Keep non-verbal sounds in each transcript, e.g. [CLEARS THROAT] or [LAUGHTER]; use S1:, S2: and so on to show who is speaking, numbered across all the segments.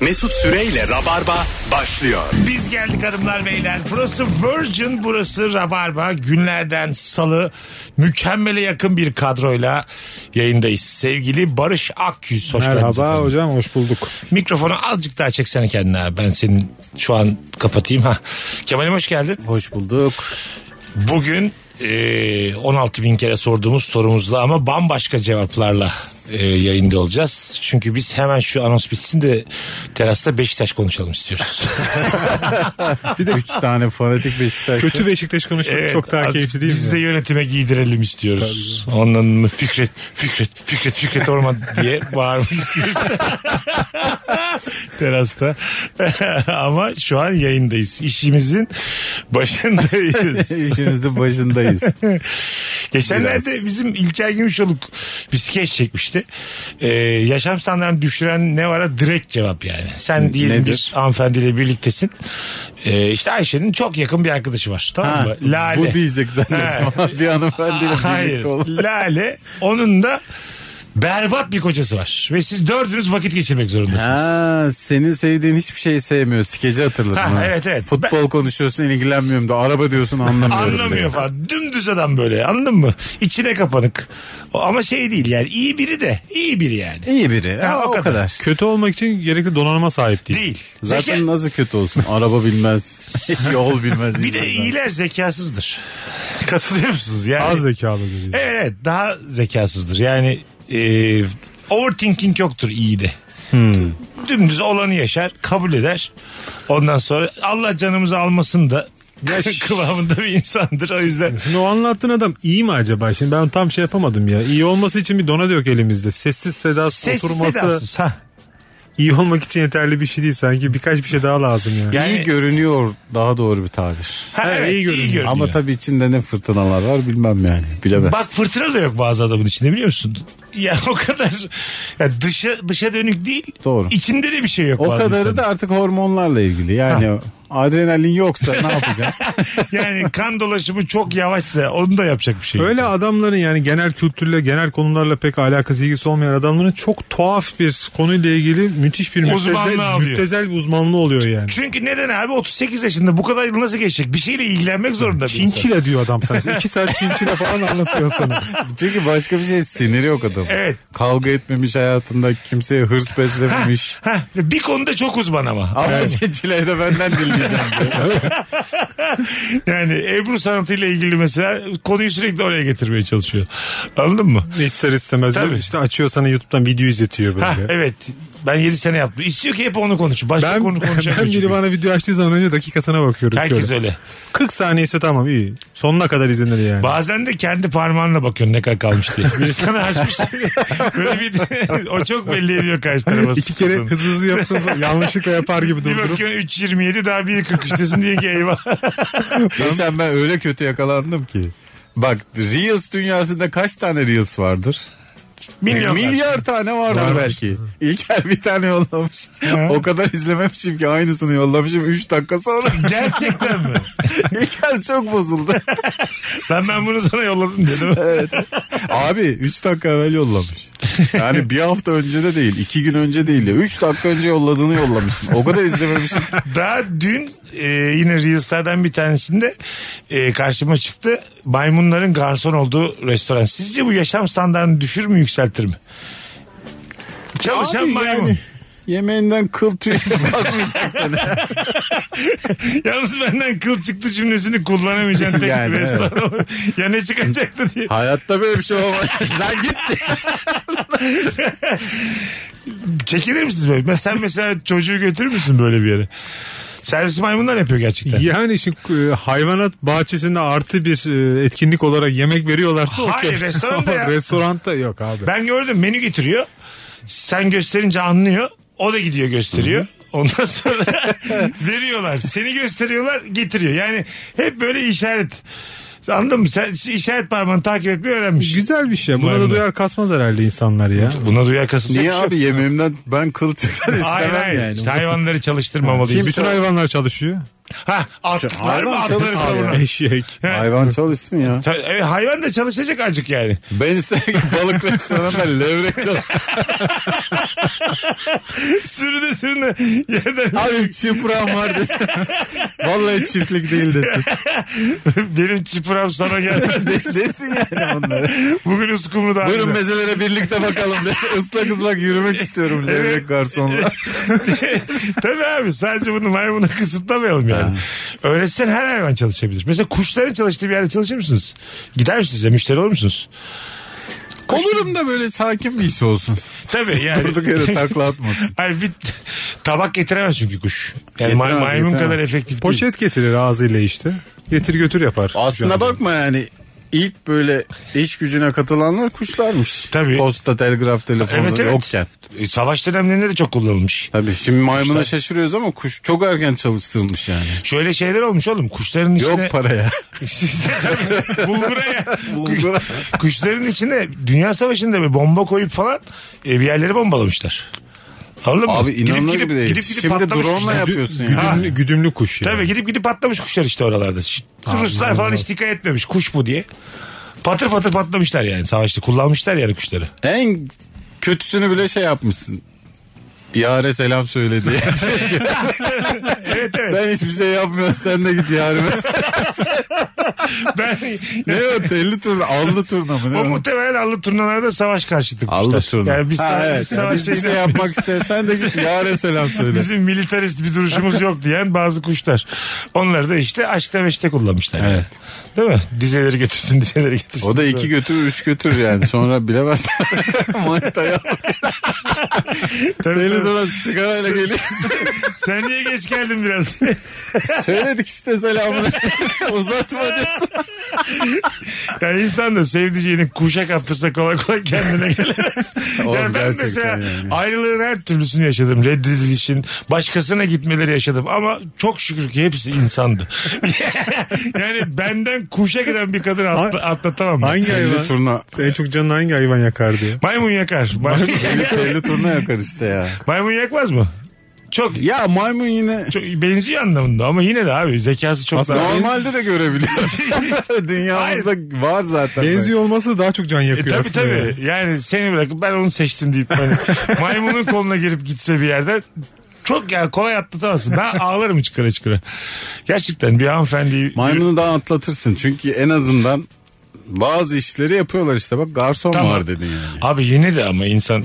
S1: Mesut Süreyle Rabarba başlıyor.
S2: Biz geldik hanımlar beyler. Burası Virgin, burası Rabarba. Günlerden salı mükemmele yakın bir kadroyla yayındayız. Sevgili Barış Akyüz. Hoş geldiniz
S3: Merhaba
S2: efendim.
S3: hocam hoş bulduk.
S2: Mikrofonu azıcık daha çeksene kendine abi. Ben senin şu an kapatayım. ha. Kemal'im hoş geldin.
S3: Hoş bulduk.
S2: Bugün e, 16 bin kere sorduğumuz sorumuzla ama bambaşka cevaplarla e, yayında olacağız. Çünkü biz hemen şu anons bitsin de terasta Beşiktaş konuşalım istiyoruz.
S3: Bir de 3 tane fanatik Beşiktaş.
S4: Kötü Beşiktaş konuşmak
S2: Evet,
S4: çok daha
S2: azıcık
S4: keyifli değil
S2: biz
S3: [LAUGHS]
S4: mi?
S2: de yönetime giydirelim istiyoruz. Ondan mı Fikret, Fikret, Fikret, Fikret Orman diye bağırmak istiyoruz. [LAUGHS] Terasta. [LAUGHS] Ama şu an yayındayız. İşimizin başındayız.
S3: İşimizin başındayız.
S2: Geçenlerde bizim İlker Gümüşoluk bir skeç çekmişti. Ee, yaşam standartını düşüren ne vara direkt cevap yani. Sen diyelim
S3: nedir?
S2: bir hanımefendiyle birliktesin. Ee, işte Ayşe'nin çok yakın bir arkadaşı var. Tamam
S3: Ha,
S2: mı? Lale.
S3: Bu diyecek zannettim. bir hanımefendiyle
S2: Hayır.
S3: birlikte olan.
S2: Lale. Onun da berbat bir kocası var. Ve siz dördünüz vakit geçirmek zorundasınız.
S3: Ha, senin sevdiğin hiçbir şeyi sevmiyor. Skeci hatırladım.
S2: Ha,
S3: ha.
S2: evet, evet.
S3: Futbol konuşuyorsun ilgilenmiyorum da araba diyorsun anlamıyorum.
S2: Anlamıyor
S3: diyor.
S2: falan. Dümdüz adam böyle anladın mı? İçine kapanık. O- Ama şey değil yani iyi biri de iyi biri yani.
S3: İyi biri.
S2: Ha,
S3: Ha,
S2: o
S3: o kadar.
S2: kadar.
S4: Kötü olmak için gerekli donanıma sahip değil.
S2: Değil.
S3: Zaten
S2: Zeka-
S3: nasıl kötü olsun? Araba bilmez. [LAUGHS] Yol bilmez.
S2: Bir
S3: insanlar.
S2: de iyiler zekasızdır. [LAUGHS] Katılıyor musunuz? Yani,
S4: Az zekalı değil.
S2: Evet, Evet daha zekasızdır. Yani e, overthinking yoktur iyi de.
S3: Hmm.
S2: Dümdüz olanı yaşar, kabul eder. Ondan sonra Allah canımızı almasın da
S3: [LAUGHS]
S2: kıvamında bir insandır. O yüzden
S4: Şimdi o anlattığın adam iyi mi acaba? Şimdi ben tam şey yapamadım ya. İyi olması için bir dona yok elimizde. Sessiz sedasız
S2: sessiz
S4: oturması
S2: sedasız. Ha.
S4: iyi olmak için yeterli bir şey değil. Sanki birkaç bir şey daha lazım yani.
S3: İyi görünüyor daha doğru bir tabir.
S2: Ha,
S4: Ha,
S2: evet,
S4: iyi
S2: iyi görünüyor.
S4: görünüyor.
S3: Ama tabii içinde ne fırtınalar var bilmem yani. Bilemez.
S2: Bak fırtına da yok bazı adamın içinde biliyor musun? Ya o kadar ya dışa dışa dönük değil.
S3: Doğru.
S2: İçinde de bir şey yok.
S3: O
S2: bazı
S3: kadarı
S2: insanın.
S3: da artık hormonlarla ilgili. Yani adrenalin yoksa ne yapacaksın?
S2: Yani kan dolaşımı çok yavaşsa onu da yapacak bir şey. yok.
S4: Öyle adamların yani genel kültürle, genel konularla pek alakası ilgisi olmayan adamların çok tuhaf bir konuyla ilgili müthiş bir
S2: Uzmanlığı
S4: müptezel,
S2: alıyor.
S4: müptezel bir uzmanlığı oluyor yani.
S2: Çünkü neden abi 38 yaşında bu kadar yıl nasıl geçecek? Bir şeyle ilgilenmek zorunda bir insan.
S4: Çinçile diyor adam [LAUGHS] sana. İki saat çinçile falan anlatıyor sana.
S3: Çünkü başka bir şey siniri yok adamın.
S2: Evet.
S3: Kavga etmemiş hayatında kimseye hırs beslememiş.
S2: Heh, bir konuda çok uzman ama.
S3: Ama Çile'yi de benden
S4: [LAUGHS]
S3: dinleyeceğim. diyor.
S2: Yani Ebru sanatıyla ilgili mesela konuyu sürekli oraya getirmeye çalışıyor. Anladın mı?
S4: İster istemez
S2: Tabii.
S4: işte açıyor sana YouTube'dan video izletiyor böyle.
S2: Heh, evet. Ben 7 sene yaptım. İstiyor ki hep onu konuşun. Başka
S4: [LAUGHS] Ben,
S2: konu şey konuşamıyor.
S4: ben biri
S2: çünkü.
S4: bana video açtığı zaman önce dakikasına bakıyorum.
S2: Herkes
S4: şöyle.
S2: öyle.
S4: 40 saniye ise tamam iyi. Sonuna kadar izlenir yani.
S2: Bazen de kendi parmağınla bakıyorsun ne kadar kalmış diye. Biri sana
S4: [LAUGHS]
S2: açmış. Böyle bir [LAUGHS] o çok belli ediyor karşı tarafa.
S4: İki kere
S2: Susadığını.
S4: hızlı
S2: [LAUGHS]
S4: hızlı yapsanız yanlışlıkla yapar gibi
S2: Bir
S4: durdurup.
S2: bakıyorsun 3.27 daha 1.43'tesin diye ki eyvah. [LAUGHS]
S3: Geçen ben öyle kötü yakalandım ki. Bak Reels dünyasında kaç tane Reels vardır?
S2: Milyon.
S3: Milyar tane vardır
S2: Varmış.
S3: belki. İlker bir tane yollamış. o kadar izlememişim ki aynısını yollamışım 3 dakika
S4: [LAUGHS]
S3: sonra.
S2: Gerçekten mi?
S3: İlker çok bozuldu.
S2: Ben ben bunu sana yolladım
S3: [LAUGHS]
S2: dedim.
S3: Abi 3 dakika evvel yollamış. Yani bir hafta önce de değil, 2 gün önce değil de 3 dakika önce yolladığını yollamışsın. O kadar izlememişim.
S2: Daha dün e, yine Reels'lerden bir tanesinde e, karşıma çıktı. Maymunların garson olduğu restoran. Sizce bu yaşam standartını düşür mü yükseltir mi? Çalışan
S3: Abi
S2: maymun.
S3: yani Yemeğinden kıl tüy bakmışsın sana.
S2: [LAUGHS] Yalnız benden kıl çıktı cümlesini kullanamayacağın
S3: [LAUGHS]
S2: tek
S3: Yani,
S2: bir
S3: evet.
S2: restoran olur. Ya ne çıkacaktı diye.
S3: [LAUGHS] Hayatta böyle bir şey olmaz. Lan gitti.
S2: Çekilir misiniz böyle? Ben- Sen mesela çocuğu götürür müsün böyle bir yere? Servis maymunlar yapıyor gerçekten.
S4: Yani şu e, hayvanat bahçesinde artı bir e, etkinlik olarak yemek veriyorlarsa
S2: Hayır,
S3: [LAUGHS]
S4: okey.
S2: restoranda ya.
S4: Ama [LAUGHS] restoranda yok abi.
S2: Ben gördüm menü getiriyor. Sen gösterince anlıyor. O da gidiyor gösteriyor. Ondan sonra [LAUGHS] veriyorlar. Seni gösteriyorlar getiriyor. Yani hep böyle işaret. Anladın mı? Sen işaret parmağını takip etmeyi öğrenmiş.
S4: Güzel bir şey. Buna
S2: Maymunlar.
S4: da duyar kasmaz herhalde insanlar ya.
S2: Buna duyar kasılacak
S3: [LAUGHS] Niye
S2: bir şey yok.
S3: abi yemeğimden ben kıl tüyden istemem
S2: Hayır hayır.
S3: yani.
S2: Hayvanları çalıştırmamalıyız.
S4: Bütün hayvanlar çalışıyor.
S2: Ha atlar mı
S3: hayvan
S2: atları
S3: çalışsın
S2: savunan?
S4: Eşek.
S3: Hayvan çalışsın ya.
S2: Ta- evet, hayvan da çalışacak acık yani.
S3: Ben isterim ki balık restoranında levrek çalışsın.
S2: Sürüne sürüne [LAUGHS] yerden
S3: [LAUGHS] Abi çıprağım var desin. Vallahi çiftlik değil desin.
S2: benim çıpıram sana gelmez.
S3: De- [LAUGHS] desin yani onları.
S2: Bugün uskumru da
S3: Buyurun
S2: aynı.
S3: mezelere birlikte [LAUGHS] bakalım desin. Islak ıslak yürümek istiyorum levrek garsonla.
S2: Tabii abi sadece bunu maymuna kısıtlamayalım yani. Öğretsen her hayvan çalışabilir. Mesela kuşların çalıştığı bir yerde çalışır mısınız? Gider misiniz ya müşteri olur musunuz?
S3: Olurum da böyle sakin bir iş olsun.
S2: Tabii yani.
S3: Durduk yere takla
S2: [LAUGHS]
S3: atmasın.
S2: Ay bir tabak getiremez çünkü kuş. Yani
S3: Getiremez,
S2: E, may- maymun
S3: getiremez.
S2: kadar efektif değil.
S4: Poşet getirir ağzıyla işte. Getir götür yapar.
S3: Aslında bakma yani ilk böyle iş gücüne katılanlar kuşlarmış.
S2: Tabii.
S3: Posta, telgraf, telefon
S2: Evet evet.
S3: yokken.
S2: E, Savaş dönemlerinde de çok kullanılmış.
S3: Tabii şimdi maymuna şaşırıyoruz ama kuş çok erken çalıştırılmış yani.
S2: Şöyle şeyler olmuş oğlum kuşların içine.
S3: Yok paraya.
S2: [LAUGHS] İşte tabii, bulgura ya.
S3: Bulgura.
S2: Kuş- Kuşların içine Dünya Savaşı'nda bir bomba koyup falan e, bir yerleri bombalamışlar. Anladın mı?
S3: Abi inanılır gibi değil. Şimdi
S2: patlamış
S3: drone
S2: kuşlar.
S3: yapıyorsun yani.
S4: Güdümlü, güdümlü kuş yani.
S2: Tabii gidip gidip patlamış kuşlar işte oralarda. Şi- Ruslar falan hiç dikkat etmemiş kuş bu diye. Patır patır patlamışlar yani savaşta. Kullanmışlar yani kuşları.
S3: En kötüsünü bile şey yapmışsın. Yare selam söyle diye.
S2: Evet evet.
S3: sen hiçbir şey yapmıyorsun sen de git yarime.
S2: Ben,
S3: ne o telli turna allı turna mı?
S2: [LAUGHS]
S3: Ne
S2: o
S3: o?
S2: muhtemelen Allı turnalarda savaş karşıtı kuşlar.
S3: Allı turna.
S2: Yani biz,
S3: Ha,
S2: savaş-
S3: evet.
S2: biz savaş
S3: bir şey
S2: şeyine-
S3: yapmak istersen de git yare selam söyle.
S2: Bizim militarist bir duruşumuz yok diyen bazı kuşlar. Onları da işte açta meşte kullanmışlar. yani.
S3: Evet.
S2: Değil mi? Dizeleri götürsün, dizeleri götürsün.
S3: O da iki götür üç götür yani sonra bilemez. Manitaya
S2: Tabii,
S3: deli
S2: tabii.
S3: duran sigarayla geliyor.
S2: Sen niye geç geldin biraz? [LAUGHS]
S3: Söyledik işte selamını. [LAUGHS] Uzatma diyorsun.
S2: yani insan da sevdiceğini kuşa kaptırsa kolay kolay kendine gelemez.
S3: [LAUGHS] Oğlum,
S2: yani ben
S3: gerçekten
S2: mesela
S3: yani.
S2: ayrılığın her türlüsünü yaşadım. Reddedilişin, başkasına gitmeleri yaşadım. Ama çok şükür ki hepsi insandı. [LAUGHS] yani benden kuşa giden bir kadın atla- atlatamam. ben.
S4: Hangi hayvan?
S3: Telli turna.
S4: En çok canını hangi hayvan yakar diye.
S2: Maymun yakar. Maymun,
S3: Telli, telli turna yakar işte ya.
S2: maymun yakmaz mı? Çok
S3: Ya maymun yine
S2: Çok benziyor anlamında ama yine de abi zekası çok
S4: Aslında
S2: daha...
S3: normalde de görebiliyoruz. [LAUGHS] Dünyamızda var zaten.
S4: Benziyor olması daha çok can
S2: E,
S4: yakıyor
S2: tabii
S4: aslında.
S2: tabii. Yani seni bırakıp ben onu seçtim deyip
S3: [LAUGHS]
S2: hani maymunun koluna girip gitse bir yerden çok yani kolay atlatamazsın. Ben ağlarım çıkara çıkara. Gerçekten bir hanımefendi
S3: Maymunu daha atlatırsın çünkü en azından bazı işleri yapıyorlar işte bak garson
S2: Tamam.
S3: var dedin yani.
S2: Abi yine de ama insan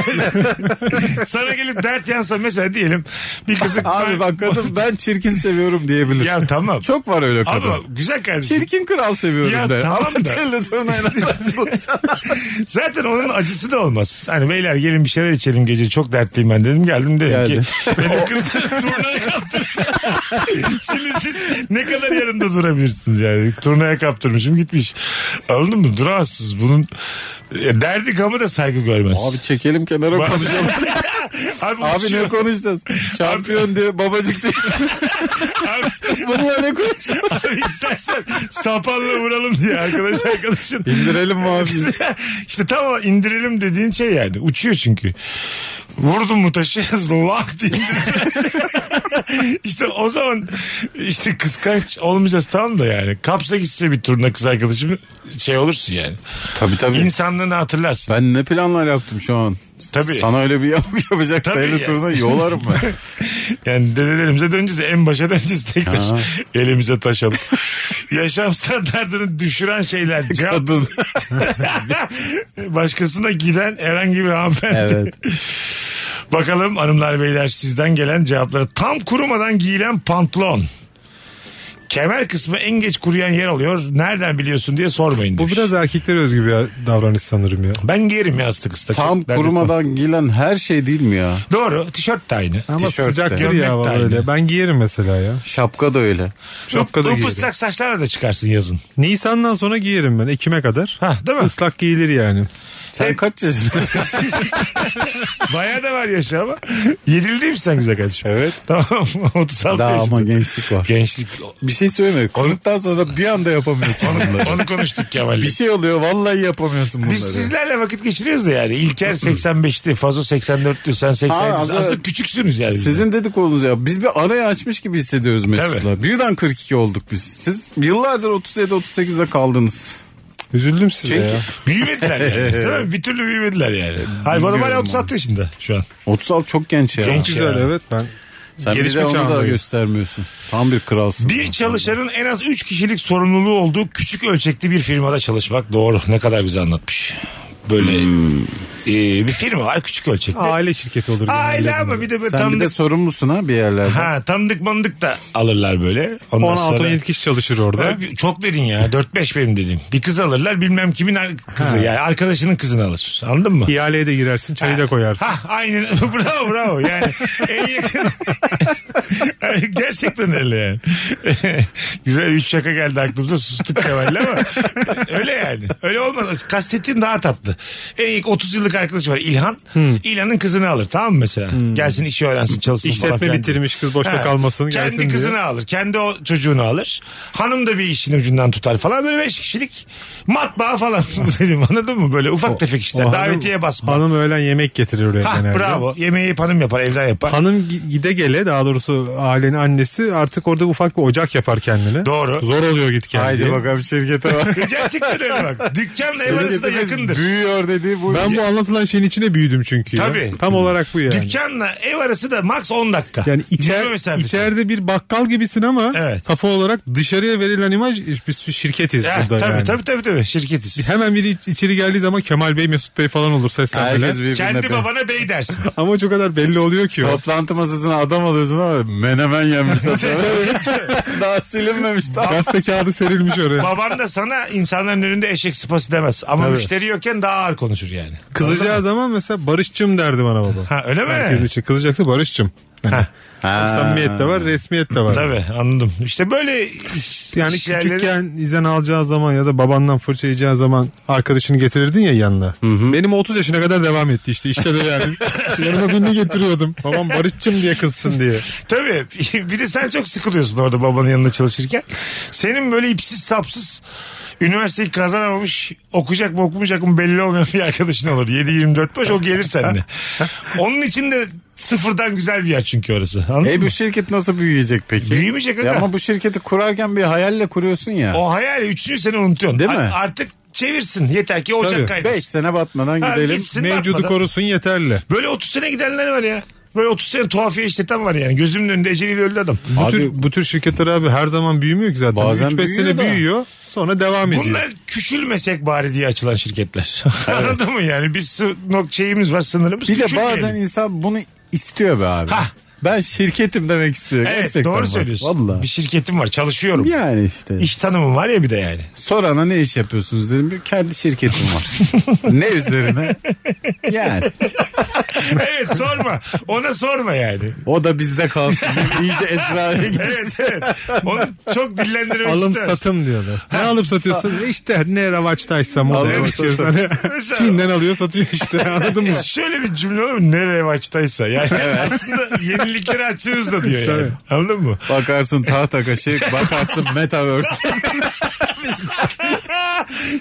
S2: [LAUGHS] sana gelip dert yansa mesela diyelim bir kızı
S3: Abi bak kadın ben çirkin seviyorum diyebilir. [LAUGHS]
S2: ya tamam.
S3: Çok var öyle kadın.
S2: Ama güzel kardeşim.
S3: Çirkin kral seviyorum
S2: Ya
S3: der.
S2: tamam
S3: Ama
S2: da.
S3: telli turnayla saçmalayacağım.
S2: [LAUGHS] Zaten onun acısı da olmaz. Hani beyler gelin bir şeyler içelim gece çok dertliyim ben dedim. Geldim dedim
S3: Geldi.
S2: [LAUGHS] ki benim kızlar turnaya kaptır. [LAUGHS] Şimdi siz ne kadar yanında durabilirsiniz yani. Turnaya kaptırmışım gitmiş. Anladın mı? Duramazsınız. Bunun e, derdi gamı da saygı görmez.
S3: [LAUGHS] Abi çekelim kenara
S2: Bak-
S3: [LAUGHS] konuşalım.
S2: [LAUGHS] Abi,
S3: Abi
S2: uçuyor.
S3: ne konuşacağız? Şampiyon diye babacık [LAUGHS] diye.
S2: Abi,
S3: Bunlar ne konuşacağız?
S2: abi istersen sapanla vuralım diye arkadaş arkadaşın.
S3: İndirelim mi abi?
S2: [LAUGHS] işte tam o indirelim dediğin şey yani. Uçuyor çünkü. Vurdun mu taşı [LAUGHS] lak diye [LAUGHS] işte o zaman işte kıskanç olmayacağız tamam da yani. Kapsa gitse bir turuna kız arkadaşım şey olursun yani.
S3: Tabii tabii.
S2: İnsanlığını hatırlarsın.
S3: Ben ne planlar yaptım şu an?
S2: Tabii.
S3: Sana öyle bir yapıp [LAUGHS] yapacak
S2: Tabii
S3: telli
S2: ya.
S3: turuna yolarım ben.
S2: [LAUGHS] Yani dedelerimize döneceğiz. En başa döneceğiz tekrar.
S3: Ha.
S2: Elimize taş alıp. Yaşam standartını düşüren şeyler. Cevap
S3: Kadın.
S2: [LAUGHS] Başkasına giden herhangi bir hanımefendi.
S3: [LAUGHS] Evet.
S2: Bakalım hanımlar beyler sizden gelen cevapları. Tam kurumadan giyilen pantolon. Kemer kısmı en geç kuruyan yer alıyor. Nereden biliyorsun diye sormayın
S4: Bu
S2: demiş.
S4: biraz erkeklere özgü bir davranış sanırım ya.
S2: Ben giyerim ya ıslık ıslık.
S3: Tam
S2: Çok dert etmem.
S3: kurumadan giyilen her şey değil mi ya?
S2: Doğru tişört de aynı.
S4: Ama
S3: Tişört de.
S4: sıcaktır
S2: Gömlek
S4: ya
S2: de aynı.
S4: öyle. Ben giyerim mesela ya.
S3: Şapka da öyle.
S4: Şapka da giyerim.
S2: Islak saçlarla da çıkarsın yazın.
S4: Nisan'dan sonra giyerim ben. Ekim'e kadar.
S2: Ha, değil mi?
S4: Islak giyilir yani.
S3: Sen kaç yaşındasın?
S2: [LAUGHS] Bayağı da var yaşı ama. Yedili değil mi sen güzel kardeşim? Evet. Tamam [LAUGHS] 36
S3: Daha
S2: yaşında.
S3: ama gençlik var.
S2: Gençlik
S3: Bir şey şey söyleme. Konuktan sonra da bir anda yapamıyorsun bunları.
S2: Onu konuştuk Kemal'le.
S3: bir şey oluyor vallahi yapamıyorsun bunları.
S2: Biz sizlerle vakit geçiriyoruz da yani. İlker 85'ti, Fazo 84'tü, sen 87'sin.
S3: Aa,
S2: Aslında,
S3: aslında-
S2: küçüksünüz yani.
S3: Sizin dedikodunuz ya. Biz bir arayı açmış gibi hissediyoruz
S2: Tabii.
S3: Mesut'la. Birden 42 olduk biz. Siz yıllardır 37-38'de kaldınız.
S4: Üzüldüm size
S3: Çünkü-
S4: ya.
S2: Büyümediler
S3: [LAUGHS]
S2: yani. Değil mi? Bir türlü büyümediler yani. Hayır bana hala
S3: Bilmiyorum
S2: 36 yaşında şu an.
S3: 36 çok genç ya.
S2: Genç.
S4: Güzel
S2: Ya.
S4: evet ben.
S3: Sen bir
S4: Gelişme
S3: de onu da
S4: çağındayım.
S3: göstermiyorsun. Tam bir kralsın.
S2: Bir çalışanın en az 3 kişilik sorumluluğu olduğu küçük ölçekli bir firmada çalışmak doğru. Ne kadar güzel anlatmış. Böyle e, bir firma var küçük ölçekli.
S4: Aile şirketi olur.
S2: Aile
S4: genelde
S2: ama
S4: bunlar.
S2: bir de böyle
S3: Sen bir de
S2: tanıdık.
S3: sorumlusun ha bir yerlerde.
S2: Ha tanıdık mandık da alırlar böyle. Ondan
S4: 16-17
S2: sonra...
S4: kişi çalışır orada.
S2: Abi Çok dedin ya 4-5 benim dedim. Bir kız alırlar bilmem kimin ar- kızı yani arkadaşının kızını alır. Anladın mı?
S4: İhaleye de girersin çayı da koyarsın.
S2: Ha aynen [LAUGHS] bravo bravo yani en yakın [LAUGHS] gerçekten öyle yani. [LAUGHS] Güzel üç şaka geldi aklımıza sustuk Kemal'le ama öyle yani öyle olmaz kastettiğim daha tatlı. En ilk 30 yıllık arkadaşı var İlhan
S4: Hmm.
S2: İlhan'ın kızını alır tamam mı mesela gelsin işi öğrensin çalışsın falan
S4: İşletme
S2: filan.
S4: bitirmiş kız boşta
S2: Ha,
S4: kalmasın gelsin
S2: Kendi kızını
S4: diye.
S2: alır. Kendi o çocuğunu alır. Hanım da bir işin ucundan tutar falan. Böyle beş kişilik matbaa falan [LAUGHS] dedim anladın mı? Böyle ufak tefek işler.
S4: O hanım-
S2: davetiye basma.
S4: Hanım öğlen yemek getirir oraya
S2: Hah,
S4: genelde.
S2: Ah, bravo. Yemeği hep hanım yapar, evden yapar.
S4: Hanım gi- gide gele daha doğrusu ailenin annesi artık orada ufak bir ocak yapar kendine.
S2: Doğru.
S4: Zor oluyor git kendi.
S3: Haydi bakalım şirkete bak.
S2: Gerçekten öyle bak.
S4: [LAUGHS]
S2: Dükkanla ev arası da
S3: Şirketimiz
S2: yakındır.
S3: Büyüyor dediği bu.
S4: Ben bu anlatılan şeyin içine büyüdüm çünkü. ya.
S2: Tabii.
S4: Tam olarak bu yani.
S2: Dükkanla ev arası da max 10 dakika.
S4: Yani
S2: Yürüme
S4: içer,
S2: mesafesi.
S4: içeride bir bakkal gibisin ama
S2: Evet.
S4: kafa olarak dışarıya verilen imaj e, biz bir şirketiz
S2: Ha,
S4: burada
S2: tabii,
S4: yani.
S2: tabii tabii tabii şirketiz.
S4: Hemen biri iç- içeri geldiği zaman Kemal Bey Mesut Bey falan olur seslenmeler.
S3: Herkes birbirine
S2: Kendi
S3: be-
S2: babana bey dersin.
S4: Ama çok kadar belli oluyor ki. o.
S3: Toplantı masasına adam alıyorsun ama menemen yenmiş.
S2: [LAUGHS]
S3: Daha silinmemiş. Daha
S4: Gazete kağıdı serilmiş oraya.
S2: Baban da sana insanların önünde eşek sıpası demez. Ama müşteri yokken daha ağır konuşur yani.
S4: Kızacağı zaman mesela Barışçım derdi bana baba.
S2: Ha öyle mi?
S4: Herkesin için kızacaksa Barışçım.
S2: Ha.
S4: Yani samimiyet de var, resmiyet de var.
S2: Tabii anladım. İşte böyle iş-
S4: Yani
S2: iş yerleri-
S4: küçükken izen alacağı zaman ya da babandan fırça yiyeceği zaman arkadaşını getirirdin ya yanına. Benim 30 yaşına kadar devam etti işte. İşte de
S3: [LAUGHS]
S4: yani. Yanıma birini getiriyordum. Babam Barışçım diye kızsın diye.
S2: Tabii. [LAUGHS] Bir de sen çok sıkılıyorsun orada babanın yanında çalışırken. Senin böyle ipsiz sapsız üniversiteyi kazanamamış okuyacak mı okumayacak mı belli olmayan bir arkadaşın olur. 7-24 boş o gelir seninle.
S3: [LAUGHS]
S2: Onun için de sıfırdan güzel bir yer çünkü orası. Anladın
S3: E
S2: mı?
S3: bu şirket nasıl büyüyecek peki?
S2: Büyümeyecek
S3: Ya
S2: aga.
S3: ama bu şirketi kurarken bir hayalle kuruyorsun ya.
S2: O hayali üçüncü sene unutuyorsun.
S3: Değil mi?
S2: A- artık çevirsin yeter ki ocak
S4: Tabii.
S2: kaynasın.
S3: 5 sene batmadan
S2: Ha,
S3: gidelim.
S2: gitsin
S4: Mevcudu
S2: batmadan.
S4: korusun yeterli.
S2: Böyle 30 sene gidenler var ya. Böyle 30 sene tuhafiye işleten var yani. Gözümün önünde eceliyle öldü adam.
S4: Bu,
S3: Abi-
S4: tür, bu tür şirketler abi her zaman büyümüyor ki zaten.
S3: Bazen
S4: 3-5
S3: büyüyor
S4: sene
S3: da.
S4: büyüyor sonra devam ediyor.
S2: Bunlar küçülmesek bari diye açılan
S3: [LAUGHS]
S2: şirketler. Anladın mı yani? Biz sı- nok şeyimiz var sınırımız.
S3: Bir de
S2: Küçülmeyelim.
S3: bazen insan bunu istiyor be abi.
S2: Hah.
S3: Ben şirketim demek istiyor.
S2: Evet
S3: Gerçekten
S2: doğru
S3: bak.
S2: söylüyorsun.
S3: Vallahi.
S2: Bir şirketim var çalışıyorum.
S3: Yani işte.
S2: İş tanımım var ya bir de
S3: [LAUGHS]
S2: yani.
S3: Sorana ne iş yapıyorsunuz dedim. Bir kendi şirketim
S2: [LAUGHS]
S3: var. ne üzerine? Yani.
S2: evet sorma. Ona sorma yani.
S3: O da bizde kalsın. İyice esrare gitsin.
S2: Evet evet. Onu çok dillendirmek
S4: Alım
S2: istemez.
S4: satım diyorlar. Ne alıp satıyorsun? İşte ne revaçtaysa o
S3: Alım
S4: bakıyorsun. Hani
S2: Mesela-
S4: [LAUGHS] Çin'den alıyor satıyor
S3: [LAUGHS]
S4: işte anladın mı?
S2: E, Şöyle bir cümle olur mu? Nereye maçtaysa. Yani aslında yeniliklere açığız da diyor yani. Anladın mı?
S3: Bakarsın tahta kaşık. Bakarsın metaverse.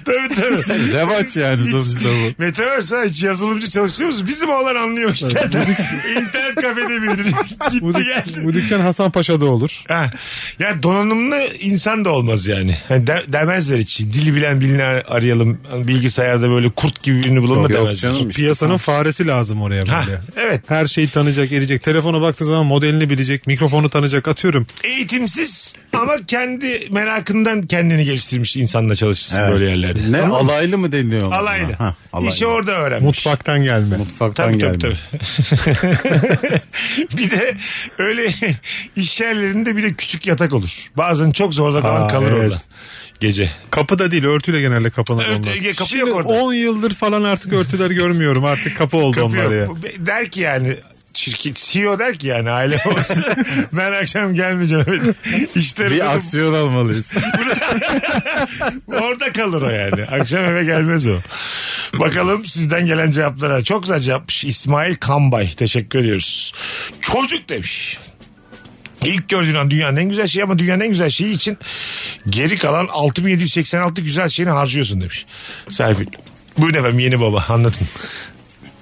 S2: tabii tabii.
S3: Revaç yani sonuçta bu.
S2: Metaverse hiç yazılımcı çalışıyor musun? Bizim oğlan anlıyor işte. [LAUGHS] İnternet kafede bildi.
S4: Bu,
S2: Gitti
S4: dük-
S2: geldi.
S4: bu dükkan Hasan Paşa'da olur.
S2: Ha. Ya donanımlı insan da olmaz yani. yani de- demezler hiç. Dili bilen birini ar- arayalım. Hani bilgisayarda böyle kurt gibi birini bulalım da
S3: Yok, yok
S2: demezler.
S3: canım.
S4: Piyasanın faresi lazım oraya böyle.
S2: Ha, evet.
S4: Her şeyi tanıyacak, edecek. Telefona baktığı zaman modelini bilecek, mikrofonu tanıyacak atıyorum.
S2: Eğitimsiz ama kendi merakından kendini geliştirmiş insanla çalışırsın
S3: Evet.
S2: böyle yerlerde.
S3: Ne alaylı mı deniyor? ona?
S2: Alaylı.
S3: Ha, alaylı.
S2: İşi orada öğrenmiş.
S4: Mutfaktan gelme.
S3: Mutfaktan
S2: Tabii
S3: geldi.
S2: tabii, tabii. [LAUGHS] bir de öyle iş yerlerinde bir de küçük yatak olur. Bazen çok zorda kalan
S4: Aa,
S2: kalır
S4: evet.
S2: orada. Gece.
S4: Kapıda değil, örtüyle genelde kapanır
S2: Ört-
S4: onlar.
S2: ya kapı
S4: Şimdi
S2: yok orada.
S4: 10 yıldır falan artık örtüler görmüyorum. Artık kapı oldu
S2: Kapı
S4: onlar ya.
S2: yok. Der ki yani şirket CEO der ki yani aile babası ben akşam gelmeyeceğim. Evet. İşleri
S3: Bir
S2: dedim, [LAUGHS]
S3: aksiyon almalıyız.
S2: orada kalır o yani. Akşam eve gelmez o. Bakalım sizden gelen cevaplara. Çok güzel cevapmış. İsmail Kambay. Teşekkür ediyoruz. Çocuk demiş. İlk gördüğün an dünyanın en güzel şeyi ama dünyanın en güzel şeyi için geri kalan 6786 güzel şeyini harcıyorsun demiş. Serpil. Buyurun efendim yeni baba anlatın.